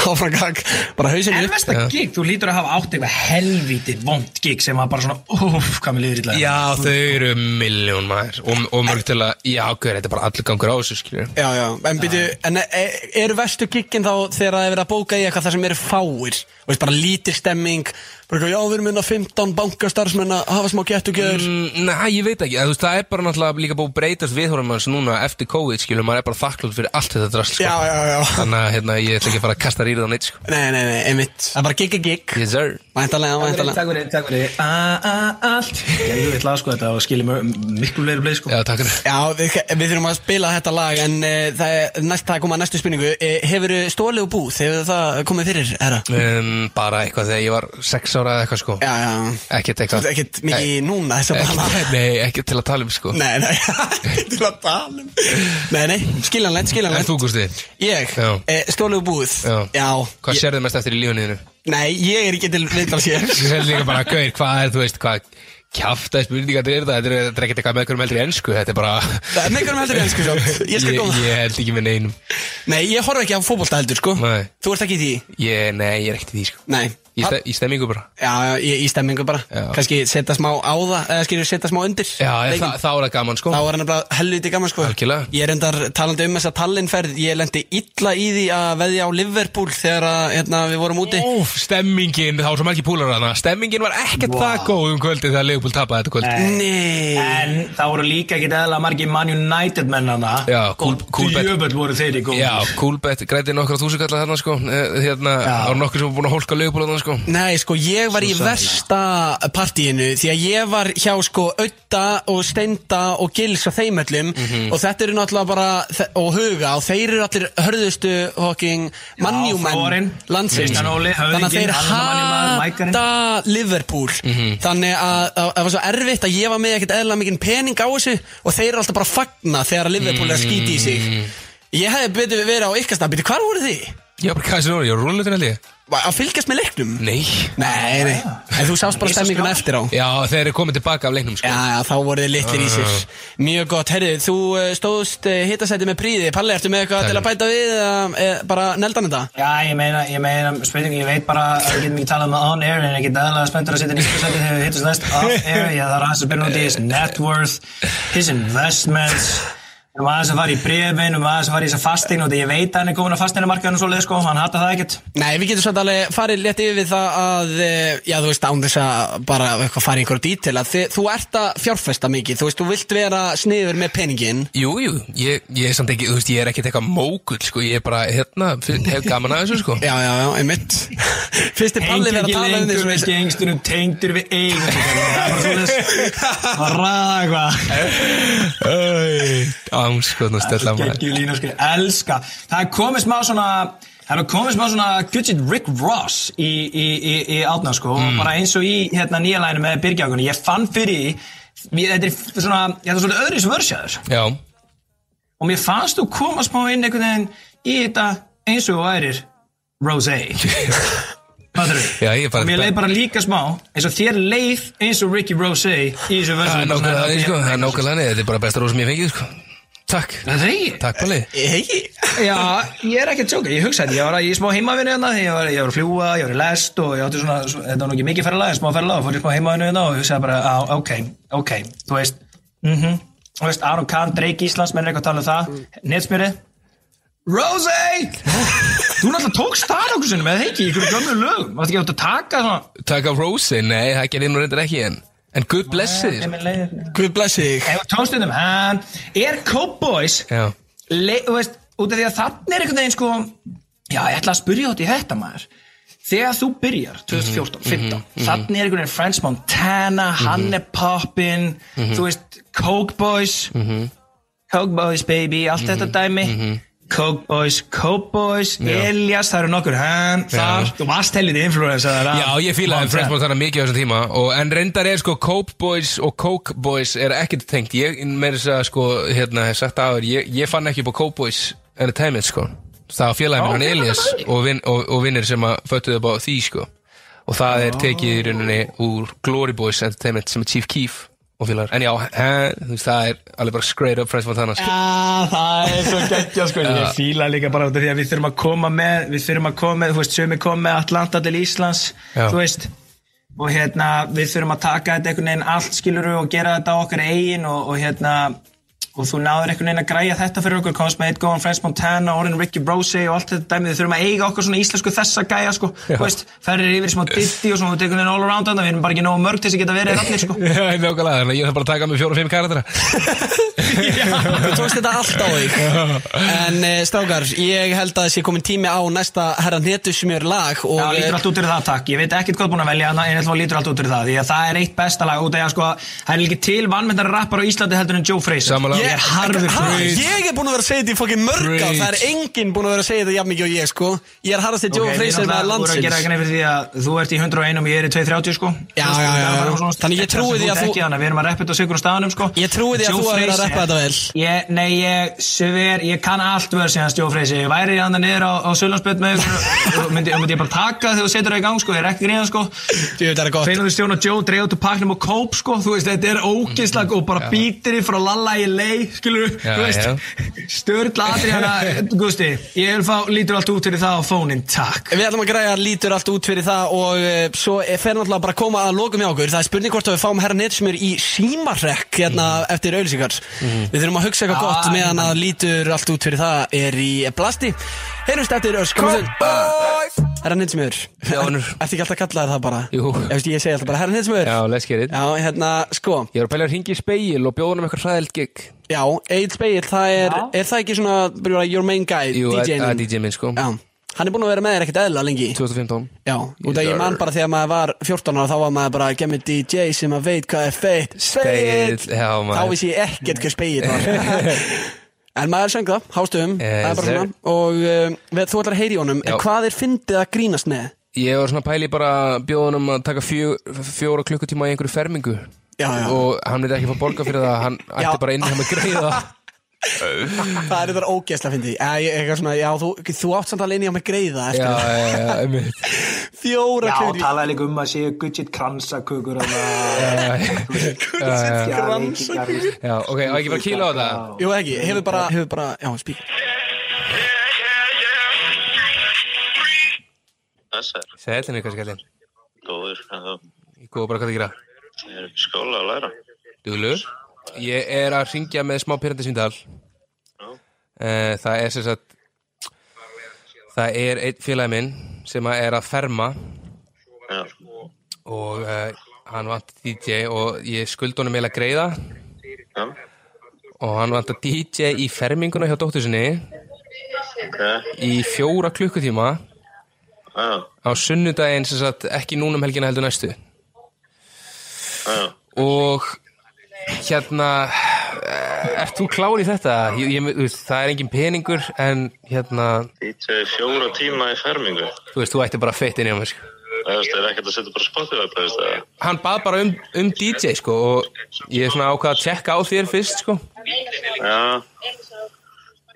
S2: áfram gag, bara hausinu
S4: En
S2: upp
S4: versta
S5: Já.
S4: gig, þú lítur að hafa átt eitthvað helvítið vond gig sem var bara svona, úf, hvað mér líður illa.
S5: Já, þau eru miljón maður Og, og mörg til að, já, hver, þetta er bara allur gangur á þessu skilur
S2: Já, já, en byrju, en e- e- eru verstu kikkin þá þegar það er verið að bóka í eitthvað þar sem eru fáir og veist bara lítir stemming bara eitthvað, já, við erum minna 15 bankastarfsmenn að hafa smá gett og gjör
S5: Mm, Nei, ég veit ekki, Eða, þú veist, það er bara náttúrulega líka búið að breytast viðhorfum manns núna eftir COVID, skilur, maður er bara þakklátt fyrir allt þetta drast, sko.
S2: Já, já, já,
S5: Þannig að hérna, ég ætla ekki að fara að kasta rýrið á neitt sko.
S2: nei, nei, nei, einmitt Það er bara gig að gig,
S5: Yes sir
S2: væntalega, væntalega
S4: fyrir, takk fyrir A- a- Allt Gerðu við lag sko þetta og skilum miklu leiri bleið sko
S5: Já, takk fyrir
S2: Já, við, við þurfum að spila þetta lag en e, það er næst það er komað að næstu spurningu e, Hefur stólið og búð, hefur það komið fyrir, herra?
S5: um, Bara eitthvað þegar ég var sex ára eða eitthvað sko
S2: Já, já,
S5: Ekkert
S2: þú
S5: eitthvað
S2: ert ekkert mikið í núna þess að bara
S5: Ekkert- Nei, ekkert til að tala um sko
S2: Nei, nei, ekki til að tala um Nei, nei, skiljanlegt,
S5: En
S2: skiljanlegt
S5: þú Gusti,
S2: Ég,
S5: Já.
S2: e, stólu og búið
S5: Já. hvað
S2: ég,
S5: sérðu mest eftir í lífunniðinu?
S2: Nei, ég er ekki til viðtal sér
S5: Ég held líka bara, gauðir, hvað er, þú veist, hvað kjaftaði spurningar þetta er það, þetta er- þetta er ekkert eitthvað með einhverjum heldur í ennsku, þetta er bara
S2: Það er með hverjum heldur ennsku sjátt sko. Ég skal koma
S5: ég, ég held ekki með neinum
S2: Nei, ég horf ekki á fótbolta heldur, sko
S5: Nei.
S2: Þú ert ekki í því
S5: ég, Nei, ég er ekkert í því sko
S2: Nei
S5: Í,
S2: Ha-
S5: ste, í stemmingu bara
S2: Já, ég, í stemmingu bara
S5: Já.
S2: Kannski setja smá á það Eða skilur setja smá undir
S5: Já, ég,
S2: leikinn.
S5: það, það var það gaman sko
S2: Þá var hann bara helviti gaman sko
S5: Algjörlega.
S2: Ég er endar talandi um þessa tallinferð Ég lendi illa í því að veðja á Liverpool Þegar að, hérna, við vorum úti
S5: Óf, stemmingin, það var svo margir púlar hana Stemmingin var ekkert það góð um kvöldi þegar Leopold tapaði þetta kvöld
S2: Nei
S4: En það voru líka ekki eðla margir Man United mennana
S5: Já, cool- cool bet.
S4: Djöfull voru þeir í góð
S5: Já, Coolbet græti nokkra þúsugalla þarna sko eh, Hérna, það var nokkur sem var búin að hólka Leopold þarna sko
S2: Nei, sko, ég var í versta partíinu því að ég var hjá, sko, Ötta og Steinda og Gils og þeim öllum
S4: Mhm.
S2: og þetta eru náttúrulega bara þe- og Huga og þeir eru allir hörðustu fucking mannjúmenn
S4: Þórinn,
S2: landsins
S4: Kristján Óli,
S2: þannig að
S4: höfðinginn,
S2: þeir
S4: annar mannjúmaður, mækarinn. Mhm.
S2: hata Liverpool þannig að að- að það var svo erfitt að ég
S4: Mhm.
S2: var með ekkert eðla mikinn pening á þessu og þeir eru alltaf bara að fagna þegar að Liverpool er að skýti í sig Ég hefði betur við verið á ykkar stað Býttu, hvar voru þið?
S5: Ég var bara kassin orði, ég var rúlutin held ég
S2: Var- Að fylgjast með leiknum?
S5: Nei
S2: Nei, nei En þú sást bara stemminguna eftir á
S5: Já, þeir eru komið tilbaka af leiknum sko
S2: Já, já, þá voru þið litlir í sér Mjög gott, herrið, þú eh, stóðst hittasæti með príði Palli, ertu með eitthvað
S5: Takk.
S2: til að bæta við eða eh, bara neldan þetta?
S4: Já, ég meina, ég meina, spurning, ég veit bara að við getum ekki talað með on air en ég get aðalega spenntur að setja nýttu sæti þegar við hittum næst off air ég þarf aðeins að spyrna út í his net worth his investments um aðeins að fara í brefin, um aðeins að fara í þess að fastein og því ég veit að hann er góðin að fasteina markaðinu svo leið sko, hann hata það ekkert
S2: Nei, við getum svolítið alveg farið létt yfir við það að, eh, já, þú veist, án þess að bara eitthvað fara í einhverjum dítil að þið, þú ert að fjárfesta mikið, þú veist, þú vilt vera sniður með peningin
S5: Jú, jú, ég, ég er samt ekki, þú veist, ég er ekkert eitthvað mógull, sko, ég er bara, hérna, fyr- hef gaman að þessu, sko.
S2: Já, já, já, einmitt Fyrst er Palli verið að
S4: Tengi ekki
S2: tala um því
S4: lengur
S2: sem
S4: við
S2: við
S4: gengstunum, tengdur við eigum það er bara svo leið að ræða eitthvað
S5: Ámskoðna stella maður.
S4: Geggjum línu skrið, sko, elska Það er komið smá svona Það er komið smá svona Gudget Rick Ross í, í, í, í átna sko
S2: Mm.
S4: og bara eins og í hérna nýja læginu með Byrgjákunni ég fann fyrir því mér- þetta er svona, þetta er svolítið öðris vörsjaður
S5: Já,
S4: og mér fannst þú koma smá inn einhvern veginn í þetta eins og þú værir Rosé Fattarðu?
S5: Já, ég er bara-
S4: og mér leið bara líka smá eins og þér leið eins og Ricky Rosé í þessu
S5: það er
S4: vörsjaður
S5: nákvæmlega þannig, sko, það er nákvæmlega þannig, þetta er bara besta róð sem ég fengið, sko. Takk,
S4: Það er ég
S5: takk Palli.
S2: Hei,
S4: Já, ég er ekki að tjóka, ég hugsaði, ég var að ég smá heimavinnu hérna, því ég var, ég var að fljúa, ég var í lest og ég átti svona, svo- þetta var nú ekki mikið ferðalag, en smá ferðalag, og fór ég smá heimavinnu hérna og hugsaði bara, á, ok, ok, þú veist, mhm, þú veist, Aron Kahn, Drake Íslands, menn er eitthvað að tala um það, mm. netsmjörið, Rosey, þú náttúrulega tókst það okkur sinni með það ekki, í ykkur gömlu lögum, varst ekki átt að taka svona,
S5: Takk af Rósi, nei, það gerði nú reyndar ekki, en, en Guð blessi þig, sko.
S4: Emil Leiðir,
S2: Guð blessi þig
S4: ef tókst um hann, er Cowboys,
S5: Já,
S4: le, þú veist, út af því að þannig er einhvern veginn sko já, ég ætla að spyrja út í þetta maður þegar þú byrjar
S5: Mhm,
S4: 2014, 15 þannig er einhvern veginn French Montana
S5: Mhm.
S4: Hanne Poppin þú veist, Coke Boys
S5: Mhm.
S4: Coke Boys baby, allt þetta dæmi Coke Boys, Coke Boys Elias, það eru nokkur hann, þar, þú varst helviti influencer
S5: já ég fílaði French Montana mikið á þessum tíma, og, en reyndar er, sko, Coke Boys og Coke Boys er ekkert tengt, ég, með þess að, sko, hérna, hef sagt aður, ég, ég fann ekki upp á Coke Boys Entertainment, sko. Það var félagið minn, hann Elias, og, vin, og, og vinnir sem að föttuðu upp á því, sko. og það er tekið í rauninni úr Glory Boys Entertainment sem er Chief Keef og félagar, en já, he, þú veist, það er alveg bara straight up French Montana sko.
S4: Já, það er svo geggja sko Ég fíla líka bara út af því að við þurfum að koma með Við þurfum að koma með, þú veist, sömi koma með Atlanta til Íslands,
S5: Já.
S4: þú veist Og hérna, við þurfum að taka þetta einhvern veginn allt skiluru og gera þetta á okkar eigin og, og hérna og þú náður einhvern veginn að græja þetta fyrir okkur komst með eitt góðan French Montana, orðin Ricky Brose og allt þetta dæmið, við þurfum að eiga okkur svona íslensku þessa gæja sko, þú veist, ferðir yfir í smá ditti og svona, þú tekur einhvern veginn all around þannig, við erum bara ekki nógu mörg til þess að geta verið allir sko
S5: Já, nákvæmlega, þannig að ég þarf bara að taka með fjóra og fimm karatera
S2: Þú tókst þetta allt á þig En uh, strákar, ég held að þessi komin tími á næsta herra netusmjör lag og, eh,
S4: Já, lítur allt út fyrir það, takk. Ég veit ekkert hvað búin að velja hana, en ég ætla að lítur allt út fyrir það. Því að það er eitt besta lag út af því að sko, það er ekki til vannmyndar rappar á Íslandi heldur en Joe Fraser.
S5: Sammála.
S4: Ég er harður
S2: ha,
S4: fyrir því.
S2: Ég er búin að vera að segja þetta í fokkin mörg ár
S5: Preach.
S2: Það er enginn búin að vera að segja þetta jafn mikið og ég sko Ég er harðast til Joe Fraser með
S4: Þú voru að gera
S2: landsins
S4: eitthvað fyrir því að þú ert í 101 og ég er í 230 sko.
S2: Já, já, já, já. Þannig ég trúi því að þú-
S4: Þannig við erum að reppa þetta á sigur og staðanum sko.
S2: Ég trúi því að
S4: Joe
S2: þú hafir verið að
S4: Frazier-
S2: rappa þetta vel.
S4: Ég, nei, ég, sver, ég kann allt verð sem hans Joe Fraser. Ég væri hann niður á, á Sölandsbjörn með ykkur og myndi, myndi ég bara taka þegar þú setur það í gang sko. Ég er ekki gríðan sko.
S2: Jú, þetta er gott
S4: Feinuðu Stjón og Joe dreigðu til paknum og kóp sko, þú veist, þetta er ógislag og bara bítir í frá Lalla í lei, skilur við,
S5: Mm-hmm. Já,
S4: þú
S5: já.
S4: veist, störla Adriana, Gusti, ég vil fá, lítur allt út fyrir það á fónin, takk.
S2: Við ætlum að græja lítur allt út fyrir það og uh, svo eh, fer náttúrulega bara að koma að lokum hjá okkur Það er spurning hvort að við fáum herra netusmjör í símarrekk hérna
S5: Mhm.
S2: eftir auðlýsingar Við þurfum að hugsa eitthvað gott
S4: Ah,
S2: meðan að lítur allt út fyrir það er í blasti Heyrjumst eftir öskum Herra netusmjör
S5: Já, vinur.
S2: Ertu ekki alltaf að kalla þér það bara?
S5: Jú.
S2: Ég, veist, ég segi alltaf bara herra netusmjör
S5: Já, let's get it
S2: Já, hérna, sko
S5: Ég var að pæla að ringa í speil og bjóða hann um eitthvað hræðild gig
S2: Já, Egil Speil, það er, er það ekki svona bara your main guy,
S5: Jú, að-
S2: DJ-num?
S5: að DJ minn, sko.
S2: Já, hann er búin að vera með þér ekkert eðla lengi
S5: 2015
S2: Já, út að ég man bara þegar maður var 14 ára þá var maður bara að gemma DJ sem að veit hvað er feitt Speil
S5: Spegill, já, maður.
S2: Þá vissi ég ekkert hver speil var En maður söng það, hástöfum Það er
S5: Yes,
S2: bara
S5: Eh, sir.
S2: svona Og um, við, þú ætlar að heyri honum
S5: Já.
S2: En hvað er fyndið að grínast með?
S5: Ég var svona að pæla í bara að bjóða hann um að taka fjó, fjóra klukkutíma í einhverju fermingu
S2: Já, já.
S5: Og hann veit ekki fá borga fyrir það, hann
S2: Já.
S5: ætti bara inni hjá með greiða
S2: Það er þetta ógeðslega að fyndi Eitthvað svona, já, þú, þú átt samt alveg inn í á mig greiða
S5: Já, eh.
S2: eftir
S5: já, já, einmitt
S2: Fjóra
S4: Já,
S2: kjöri
S4: talaði líka um að séu gudget kransakökur
S5: Já, já.
S4: Kransakökur
S5: Já, ok, á ekki bara að kýla á þetta
S2: Jú, ekki, hefur bara, hefur bara, já, spík
S9: Þessar,
S5: Sællin eitthvað skellin
S9: góður, en þú
S5: Ég góða bara hvað það gera
S9: er í skóla að læra.
S5: Duglur Ég er að ringja með smá pyrrandi síndal Það er sem sagt Það er einn félagi minn sem að er að ferma
S9: Já,
S5: og uh, hann vant DJ og ég skuldi honum eiginlega greiða
S9: já,
S5: og hann vant DJ í ferminguna hjá dóttur sinni
S9: ok,
S5: í fjóra klukkutíma
S9: já,
S5: á sunnudaginn sem sagt ekki núna um helgina heldur næstu
S9: já,
S5: og hérna eh, ert þú klár í þetta? Ég, ég, þú veist, það er engin peningur en hérna,
S9: DJ fjóra tíma í fermingu.
S5: þú veist, þú ætti bara feitt inn í hann sko.
S9: Það er ekkert að setja bara spottið upp, veist það?
S5: hann bað bara um, um DJ sko, og ég er svona ákvað að tjekka á þér fyrst sko.
S9: Já,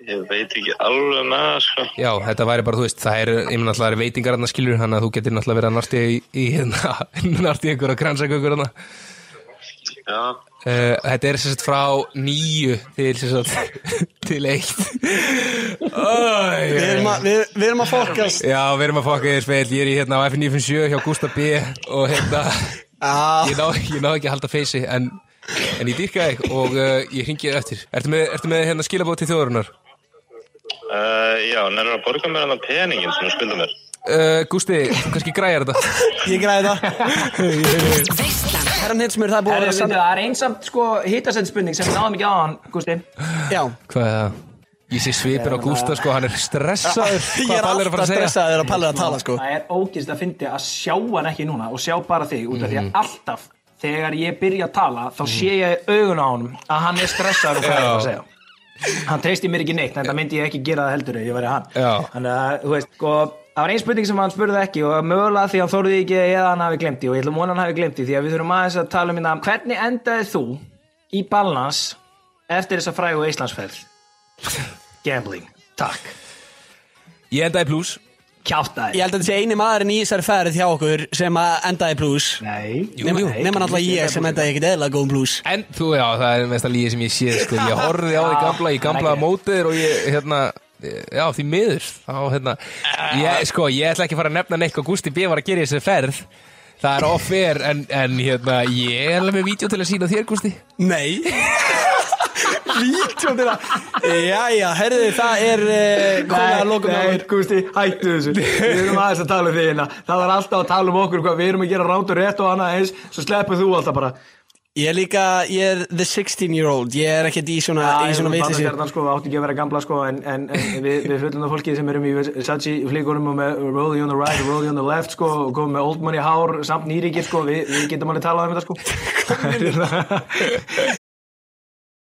S9: ég veit ekki alveg með það, sko.
S5: já, þetta væri bara, þú veist, það er ég meina alltaf veitingar hann að skilur hann að þú getur náttúrulega verið að nartja í, í hérna, nartja ykkur og kransakökur hann uh,
S9: Já,
S5: Eh, þetta er sem sagt frá nýju til sem sagt til eitt oh,
S2: Við erum að, við, við erum að fókast
S5: Já, við erum að fokka þér spil, ég er í hérna á F957 hjá Gustaf B og hérna,
S2: Já,
S5: ég ná, ég ná ekki að halda feysi en, en ég dýrka þig og uh, ég ringi þér eftir. Ertu með, ertu með hérna skilabót til þjóðurinnar?
S9: uh, já, nennir að borga mér hann peningin sem þú skulda mér.
S5: Uh, Gusti, þú kannski græjar þetta.
S2: ég græði það
S1: Veislan
S2: Herran Hinsmur, það er búið að vera
S4: Það
S2: sann
S4: er einsamt sko hittasend spurning sem við náðum ekki á hann, Gusti
S2: Já,
S5: Hvað er það? Ég sé svipin á Gústa sko, hann er stressaður.
S2: Eh, ég er
S5: Palli
S2: alltaf stressaði þegar Palli er að tala, sko
S4: Það er ógist að fyndi að sjá hann ekki núna og sjá bara þig út af því að alltaf þegar ég byrja að tala þá sé ég í augun á honum að hann er stressaður og hvað er það að segja hann treysti mér ekki neitt, þetta myndi ég ekki gera það heldur ef ég væri hann
S5: Já.
S4: þannig að, þú veist, sko það var ein spurning sem hann spurði ekki og mögulega því hann þorði ekki eða hann hafi glemt því og ég ætla að vona að hann hafi glemt því því að við þurfum aðeins að tala um hérna hvernig endaði þú í balans eftir þessa frægu Íslandsferð gambling, takk
S5: Ég endaði pluss.
S4: kjáftæði
S2: Ég held að þetta sé eini maðurinn í þessari ferð hjá okkur sem að endaði plus
S4: Nei,
S2: Nefna
S5: jú.
S2: nema náttúrulega E ég sem endaði ekkert eðla góðum plus
S5: En þú, já, það er mest að líði sem ég sé sko. Ég horfði á því gamla, ég gamla mótiður og ég, hérna, já, því miður þá, hérna, ég, sko, ég ætla ekki að fara að nefna neitt hvað Gusti B var að gera í þessu ferð Það er off-air en, en hérna, ég er alveg með vídeo til að sína þér, Gusti
S2: Nei Vítjum til það Jæja, herðu það er eh, komið að lokum hjá
S4: nei,
S2: okkur.
S4: Gústi, hættu þessu Við erum aðeins að tala um því hérna Það var alltaf að tala um okkur hvað við erum að gera ránt og rétt og annað eins Svo sleppur þú alltaf bara
S2: Ég er líka, ég er the 16 year old Ég er ekkert í svona, í svona vitlis
S4: Við sko, við áttum ekki að vera gamla sko, en, en, en við, við fullum fólki sem erum í Versace flíkunum og með Rolly on the right, Rolly on the left sko, og komum með old money hár samt nýrikir sko, við, við getum alveg talað um þetta sko.